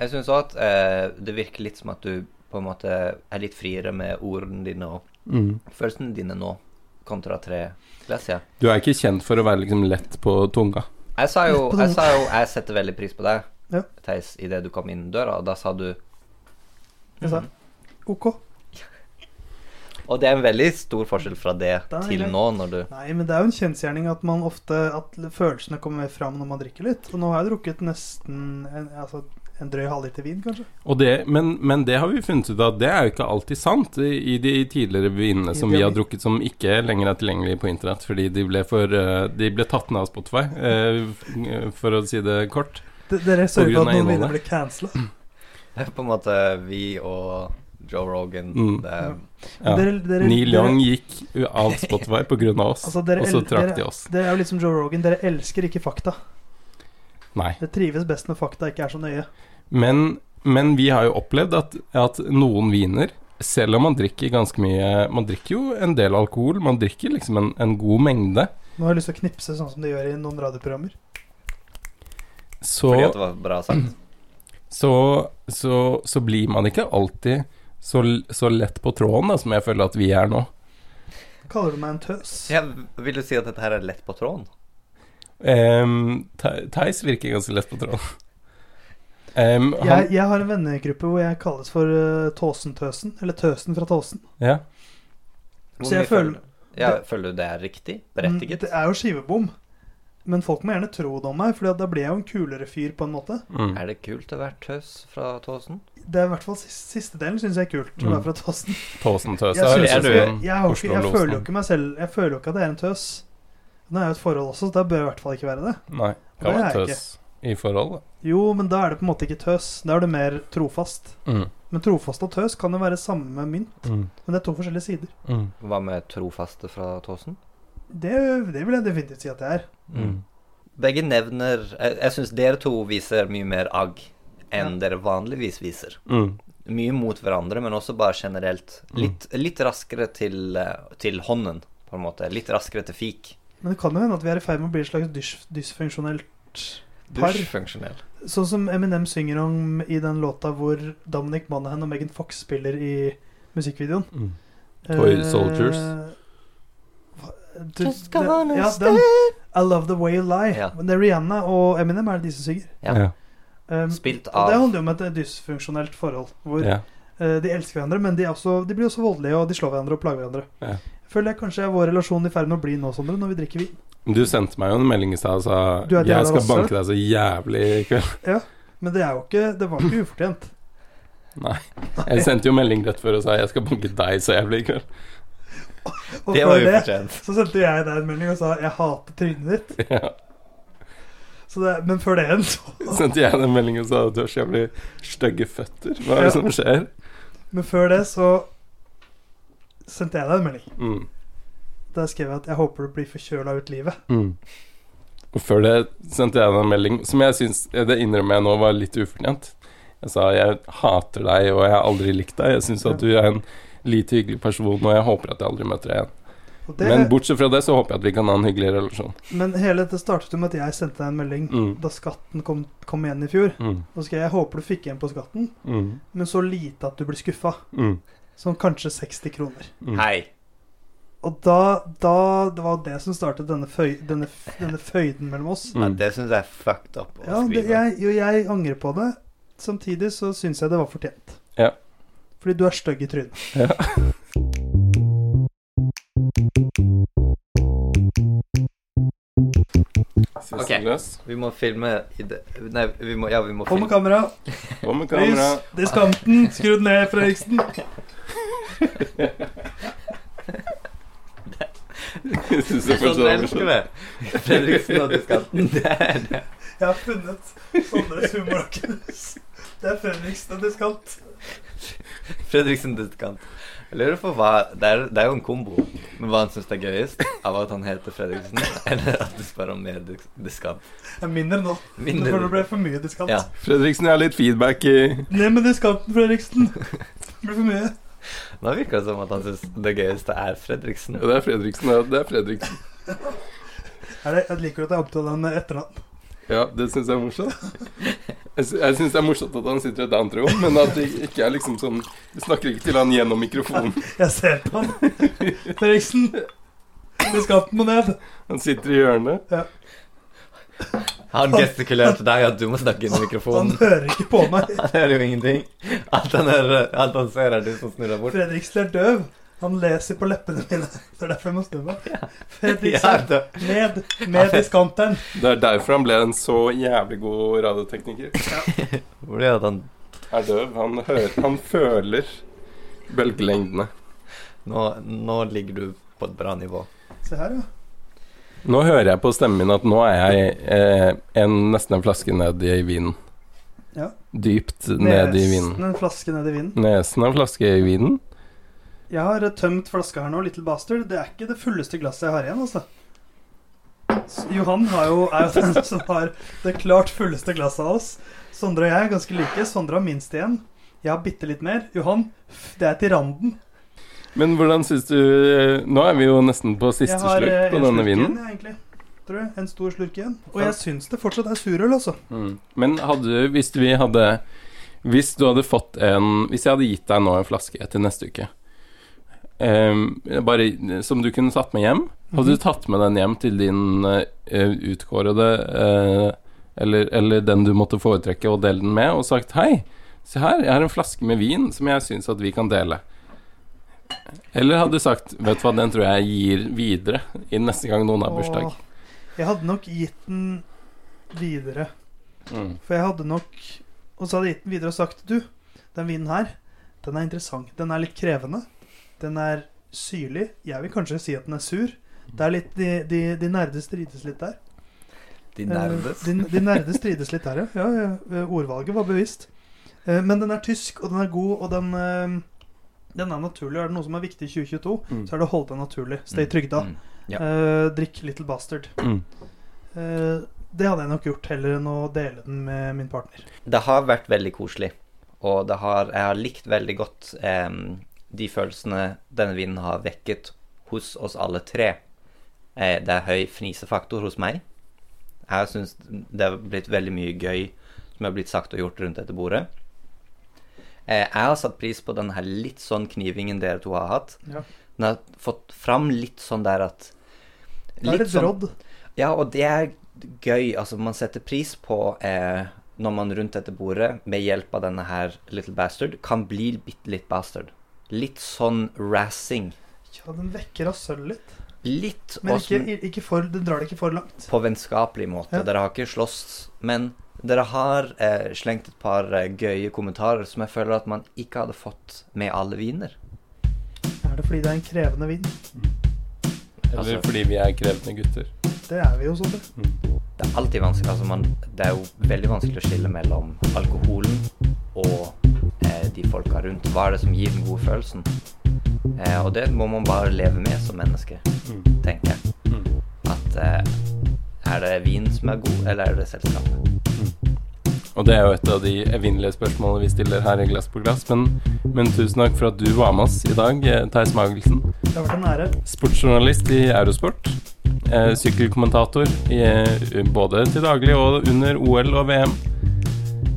Speaker 2: Jeg syns òg at eh, det virker litt som at du på en måte er litt friere med ordene dine og følelsene dine nå, kontra tre glass, ja.
Speaker 1: Du er ikke kjent for å være liksom lett på tunga.
Speaker 2: Jeg sa jo
Speaker 3: Litt på
Speaker 2: jeg,
Speaker 3: den-
Speaker 2: sa jo, jeg setter veldig pris på deg,
Speaker 3: Ja.
Speaker 2: Theis, idet du kom inn døra, og da sa du
Speaker 3: Jeg sa
Speaker 2: Mhm.
Speaker 3: ok.
Speaker 2: Og det er en veldig stor forskjell fra det
Speaker 3: Da er det
Speaker 2: til
Speaker 3: greit.
Speaker 2: nå, når du
Speaker 3: Nei, men det er jo en kjensgjerning at man ofte At følelsene kommer mer fram når man drikker litt. Og nå har jeg drukket nesten en, altså, en drøy halvliter vin, kanskje.
Speaker 1: Og det, men, men det har vi funnet ut at det er jo ikke alltid sant i, i de tidligere vinene som vi har drukket som ikke lenger er tilgjengelige på internett, fordi de ble, for, eh, de ble tatt ned av Spotify, eh, f- for å si det kort.
Speaker 3: D dere
Speaker 1: grunn
Speaker 3: sørger for
Speaker 1: av
Speaker 3: at noen
Speaker 1: innholdet.
Speaker 3: viner blir cancela.
Speaker 2: Det er på en måte vi og Joe Rogan
Speaker 1: Mm.
Speaker 2: det, er-
Speaker 1: Ja.
Speaker 3: Dere, dere,
Speaker 1: Neil Young
Speaker 3: dere,
Speaker 1: gikk u- av Spotify pga. oss,
Speaker 3: Altså, dere
Speaker 1: og så
Speaker 3: el-
Speaker 1: trakk de oss.
Speaker 3: dere er jo liksom Joe Rogan. Dere elsker ikke fakta.
Speaker 1: Nei.
Speaker 3: Dere trives best når fakta ikke er så nøye.
Speaker 1: Men, men vi har jo opplevd at, at noen viner selv om man drikker ganske mye Man drikker jo en del alkohol, man drikker liksom en, en god mengde,
Speaker 3: Nå har jeg lyst til å knipse sånn som de gjør i noen radioprogrammer.
Speaker 1: så
Speaker 2: Fordi at det var bra sagt.
Speaker 1: så, så, så blir man ikke alltid så, l- så lett på tråden da, som jeg føler at vi er nå.
Speaker 3: Kaller du meg en tøs?
Speaker 2: Jeg vil jo si at dette her er lett på tråden.
Speaker 1: Um, Theis virker ganske lett på tråden. Em, han,
Speaker 3: Jeg, jeg har en vennegruppe hvor jeg kalles for eh, Tåsen-tøsen. Eller Tøsen fra Tåsen.
Speaker 1: ja.
Speaker 2: Hvor
Speaker 3: Så jeg
Speaker 2: mye
Speaker 3: føler-
Speaker 2: ja, Føler du det er riktig? Berettiget?
Speaker 3: Det er jo skivebom. Men folk må gjerne tro det om meg, for da blir jeg jo en kulere fyr på en måte.
Speaker 1: Mm.
Speaker 2: Er det kult å være tøs fra Tåsen?
Speaker 3: Det er i hvert fall siste, siste delen syns jeg er kult. å
Speaker 1: Mm.
Speaker 3: være fra Tåsen.
Speaker 1: Tåsen tøs.
Speaker 3: Jeg, synes
Speaker 2: er
Speaker 3: også-
Speaker 1: sånn-
Speaker 2: du
Speaker 3: jeg, jeg, har jo ikke- jeg
Speaker 1: Oslo-losen.
Speaker 3: føler jo ikke meg selv Jeg føler jo ikke at jeg er en tøs. Nå er jeg jo et forhold også, så da bør jeg i hvert fall ikke være det.
Speaker 1: Nei,
Speaker 3: Det
Speaker 1: kan
Speaker 3: er
Speaker 1: være
Speaker 3: jeg
Speaker 1: tøs i forhold, da.
Speaker 3: Jo, men da er det på en måte ikke tøs. Da er du mer trofast.
Speaker 1: Mm.
Speaker 3: Men trofast og tøs kan jo være samme mynt,
Speaker 1: Mm.
Speaker 3: men det er to forskjellige sider.
Speaker 1: Mm.
Speaker 2: Hva med trofaste fra Tåsen?
Speaker 3: Det, det vil jeg definitivt si at jeg er.
Speaker 1: Mm.
Speaker 2: Begge nevner Jeg, jeg syns dere to viser mye mer agg enn dere vanligvis viser.
Speaker 1: Mm.
Speaker 2: Mye mot hverandre, men også bare generelt.
Speaker 1: Mm.
Speaker 2: Litt, litt raskere til, eh, til hånden, på en måte. Litt raskere til fik.
Speaker 3: Men det kan jo hende at vi er i ferd med å bli et slags dys dysfunksjonelt Par.
Speaker 2: Dusjfunksjonell.
Speaker 3: Sånn som Eminem synger om i den låta hvor Dominic Monaghan og Megan Fox spiller i musikkvideoen.
Speaker 1: Mm. Toy
Speaker 3: Eh,
Speaker 1: Soldiers.
Speaker 3: hva- du, det, ja, den, I Love The Way You Lie.
Speaker 2: Ja.
Speaker 3: Men det er Rihanna og Eminem er det de som synger.
Speaker 2: Ja.
Speaker 1: Ja.
Speaker 3: Um,
Speaker 2: Spilt
Speaker 3: og Det
Speaker 2: av
Speaker 3: handler jo om et eh, dysfunksjonelt forhold. Hvor
Speaker 1: Ja.
Speaker 3: eh, de elsker hverandre, men de, er også, de blir også voldelige, og de slår hverandre og plager hverandre.
Speaker 1: Ja.
Speaker 3: Jeg Føler jeg kanskje er vår relasjon i ferd med å bli nå, Sondre, når vi drikker vin.
Speaker 1: Du sendte meg jo en melding i stad og sa
Speaker 3: Du er et
Speaker 1: jeg
Speaker 3: jævla
Speaker 1: skal
Speaker 3: rasshøl.
Speaker 1: banke deg så jævlig i kveld.
Speaker 3: Men det er jo ikke Det var ikke ufortjent.
Speaker 1: Nei. Jeg sendte jo melding rett før og sa jeg skal banke deg så jævlig i kveld.
Speaker 3: Og
Speaker 2: Det var
Speaker 3: før det
Speaker 2: ufortjent.
Speaker 3: så sendte jeg deg en melding og sa 'jeg hater trynet ditt'.
Speaker 1: Ja.
Speaker 3: Så det, men før det igjen, så
Speaker 1: Sendte jeg den meldingen og sa at du har så jævlig stygge føtter. Hva er
Speaker 3: Ja.
Speaker 1: det som skjer?
Speaker 3: Men før det så sendte jeg deg en melding.
Speaker 1: Mm.
Speaker 3: Der skrev jeg at 'jeg håper du blir forkjøla ut livet'.
Speaker 1: Mm. Og før det sendte jeg deg en melding som jeg syns Det innrømmer jeg nå var litt ufortjent. Jeg sa jeg hater deg, og jeg har aldri likt deg. Jeg syns at du er en lite hyggelig person, og jeg håper at jeg aldri møter deg igjen.
Speaker 3: Og det,
Speaker 1: Men bortsett fra det så håper jeg at vi kan ha en hyggelig relasjon.
Speaker 3: men hele dette startet jo med at jeg sendte deg en melding
Speaker 1: Mm.
Speaker 3: da skatten kom, kom igjen i fjor.
Speaker 1: Mm.
Speaker 3: Og skrev jeg håper du fikk igjen på skatten,
Speaker 1: Mm.
Speaker 3: men så lite at du blir skuffa.
Speaker 1: Mm.
Speaker 3: Sånn kanskje 60 kroner.
Speaker 1: Mm.
Speaker 2: Hei.
Speaker 3: Og da, da Det var det som startet denne, føy, denne, f- denne føyden mellom oss.
Speaker 1: Mm.
Speaker 2: Ja, det syns jeg er fucked up. å
Speaker 3: Ja, det,
Speaker 2: skrive.
Speaker 3: jeg, jo, jeg angrer på det. Samtidig så syns jeg det var fortjent.
Speaker 1: Ja.
Speaker 3: Fordi du er stygg i trynet.
Speaker 1: Ja.
Speaker 2: Ok.
Speaker 1: Løs.
Speaker 2: Vi må filme i det Nei, vi må, ja, vi må
Speaker 3: På
Speaker 2: filme.
Speaker 3: med kamera.
Speaker 1: På med kamera.
Speaker 3: Lys. Diskanten. Skru den ned, Fredriksen.
Speaker 1: Jeg synes det er
Speaker 2: Sånn
Speaker 1: fortsatt
Speaker 2: elsker det. Fredriksen og diskanten. Det er det.
Speaker 3: Jeg har funnet Sondres humorlokkus. Det er Fredriksen og diskant.
Speaker 2: Fredriksen diskant. Jeg lurer på hva det er, det er jo en kombo. Men hva han syns er gøyest av at han heter Fredriksen, eller at du spør om mer dis- diskant.
Speaker 3: Det er mindre nå.
Speaker 2: Mindre-
Speaker 3: For det ble for mye diskant.
Speaker 2: Ja.
Speaker 1: Fredriksen, jeg har litt feedback i
Speaker 3: Ned med diskanten, Fredriksen. Det blir for mye.
Speaker 2: Nå virker det som at han syns det gøyeste er Fredriksen.
Speaker 1: Ja, Det er Fredriksen, ja. Det er Fredriksen.
Speaker 3: Er det, jeg liker at jeg omtaler ham med etternavn.
Speaker 1: Ja, det syns jeg er morsomt. Jeg sy- jeg syns det er morsomt at han sitter i et annet rom, men at det ikke er liksom sånn Du snakker ikke til han gjennom mikrofonen.
Speaker 3: Jeg ser på han. Fredriksen. Diskanten må ned.
Speaker 1: Han sitter i hjørnet.
Speaker 2: Han gestikulerte deg at du må snakke inn i
Speaker 3: Han
Speaker 2: mikrofonen.
Speaker 3: hører ikke på meg.
Speaker 2: Han hører jo ingenting. Alt han, hører, alt han ser, er du som snurrer bort.
Speaker 3: Fredriksen er døv. Han leser på leppene mine. Det er derfor jeg må snu meg.
Speaker 2: Ja,
Speaker 3: Fredriksen,
Speaker 2: det-
Speaker 3: ned med diskanteren.
Speaker 1: Det er derfor han ble en så jævlig god radiotekniker.
Speaker 2: Hvor er det at han
Speaker 1: Er døv. Han, hører, han føler bølgelengdene.
Speaker 2: nå, nå ligger du på et bra nivå.
Speaker 3: Se her, ja.
Speaker 1: Nå hører jeg på stemmen min at nå er jeg eh, en, nesten en flaske ned i vinen.
Speaker 3: Ja.
Speaker 1: Dypt ned i vinen.
Speaker 3: Nesten en flaske ned i vinen.
Speaker 1: Nesen en flaske i vinen.
Speaker 3: Jeg har tømt flaska her nå, Little Bastard. Det er ikke det fulleste glasset jeg har igjen, altså. S- Johan har jo, er jo den som har det klart fulleste glasset av oss. Sondre og jeg er ganske like. Sondre har minst igjen. Jeg har bitte litt mer. Johan, f- det er til randen.
Speaker 1: Men hvordan syns du eh, Nå er vi jo nesten på siste
Speaker 3: Jeg har eh,
Speaker 1: slurk på
Speaker 3: en
Speaker 1: denne
Speaker 3: slurk
Speaker 1: vinen.
Speaker 3: igjen, jeg, egentlig. Tror jeg. En stor slurk igjen. Og jeg syns det fortsatt er surøl, altså.
Speaker 1: Mm. Men hadde Hvis vi hadde Hvis du hadde fått en Hvis jeg hadde gitt deg nå en flaske til neste uke em, Bare Som du kunne tatt med hjem Hadde du tatt med den hjem til din eh, utkårede eh, eller, eller den du måtte foretrekke og dele den med Og sagt Hei, se her, jeg har en flaske med vin Som jeg synes at vi kan dele Eller hadde du sagt Vet du hva, den tror jeg gir videre I neste gang noen har bursdag
Speaker 3: Og Jeg hadde nok gitt den videre.
Speaker 1: mm.
Speaker 3: For jeg hadde nok Og så hadde jeg gitt den videre og sagt Du, den vinen her, den er interessant. Den er litt krevende. Den er syrlig. Jeg vil kanskje si at den er sur. Det er litt De, de, de nerde strides litt der.
Speaker 2: De
Speaker 3: Eh,
Speaker 2: nerdes.
Speaker 3: De, de nerde strides litt der, ja. ja, ja. eh, Ordvalget var bevisst. Eh, Men den er tysk, og den er god, og den eh, den er naturlig. Er det noe som er viktig i 2022,
Speaker 1: Mm.
Speaker 3: så er det å holde deg naturlig. Stay trygda.
Speaker 2: Mm. Ja.
Speaker 3: Eh, drikk Little Bastard.
Speaker 1: Mm.
Speaker 3: Eh, det hadde jeg nok gjort heller enn å dele den med min partner.
Speaker 2: Det har vært veldig koselig, og det har, jeg har likt veldig godt em, de følelsene denne vinen har vekket hos oss alle tre. Eh, det er høy fnisefaktor hos meg. Jeg syns det har blitt veldig mye gøy som har blitt sagt og gjort rundt dette bordet. Eh, jeg har satt pris på den her litt sånn knivingen dere to har hatt.
Speaker 3: Ja.
Speaker 2: Den har fått fram litt sånn der at sånn
Speaker 3: Da er det et rådd.
Speaker 2: ja, og det er gøy. Altså, man setter pris på eh, når man rundt dette bordet, med hjelp av denne her Little Bastard, kan bli bitte litt bastard. Litt sånn rassing.
Speaker 3: Ja, den vekker av sølv litt.
Speaker 2: Litt
Speaker 3: Men
Speaker 2: også
Speaker 3: ikke, ikke for, den drar det ikke for langt.
Speaker 2: på vennskapelig måte.
Speaker 3: Ja.
Speaker 2: Dere har ikke slåss, men dere har eh, slengt et par eh, gøye kommentarer som jeg føler at man ikke hadde fått med alle viner.
Speaker 3: Er det fordi det er en krevende vin?
Speaker 1: Eller
Speaker 2: Altså-
Speaker 1: fordi vi er krevende gutter
Speaker 3: Det er vi jo sånn. det.
Speaker 2: Det er alltid vanskelig. Altså man, det er jo veldig vanskelig å skille mellom alkoholen og eh, de folka rundt. Hva er det som gir den gode følelsen? Eh, og det må man bare leve med som menneske,
Speaker 1: Mm.
Speaker 2: tenker jeg.
Speaker 1: Mm.
Speaker 2: At eh, er det vin som er god, eller er det selskapet?
Speaker 1: Og det er jo et av de evinnelige spørsmålene vi stiller her i Glass på glass. Men, men tusen takk for at du var med oss i dag, eh, Theis Magelsen.
Speaker 3: Det har vært en ære.
Speaker 1: Sportsjournalist i Eurosport. Eh, sykkelkommentator i, eh, både til daglig og under OL og VM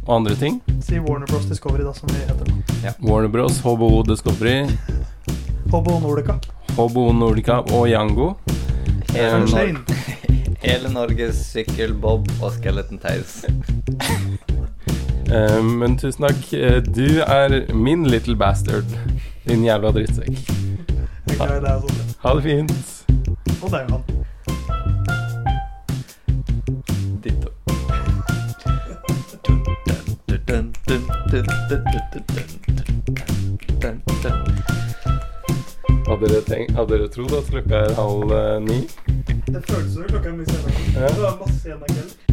Speaker 1: og andre ting.
Speaker 3: Si Warner Bros Discovery, da, som vi heter.
Speaker 1: Warner Bros, HBO Discovery,
Speaker 3: Hobo Nordica.
Speaker 1: HBO Nordica og Yango.
Speaker 2: Hele,
Speaker 1: Um,
Speaker 2: Nor
Speaker 3: Shane.
Speaker 2: hele Norges sykkelbob og skeleton tales.
Speaker 1: Eh, men tusen takk. Eh, Du er min little bastard, din jævla drittsekk.
Speaker 3: Jeg er glad i deg, Sondre.
Speaker 1: Ha det fint.
Speaker 3: Og deg, Johan.
Speaker 2: Ditto.
Speaker 1: Hadde dere, tenkt, hadde dere trodd at klokka er halv eh, ni?
Speaker 3: Det føltes som klokka er mye senere.
Speaker 1: Ja.
Speaker 3: Det var masse igjen av kvelden.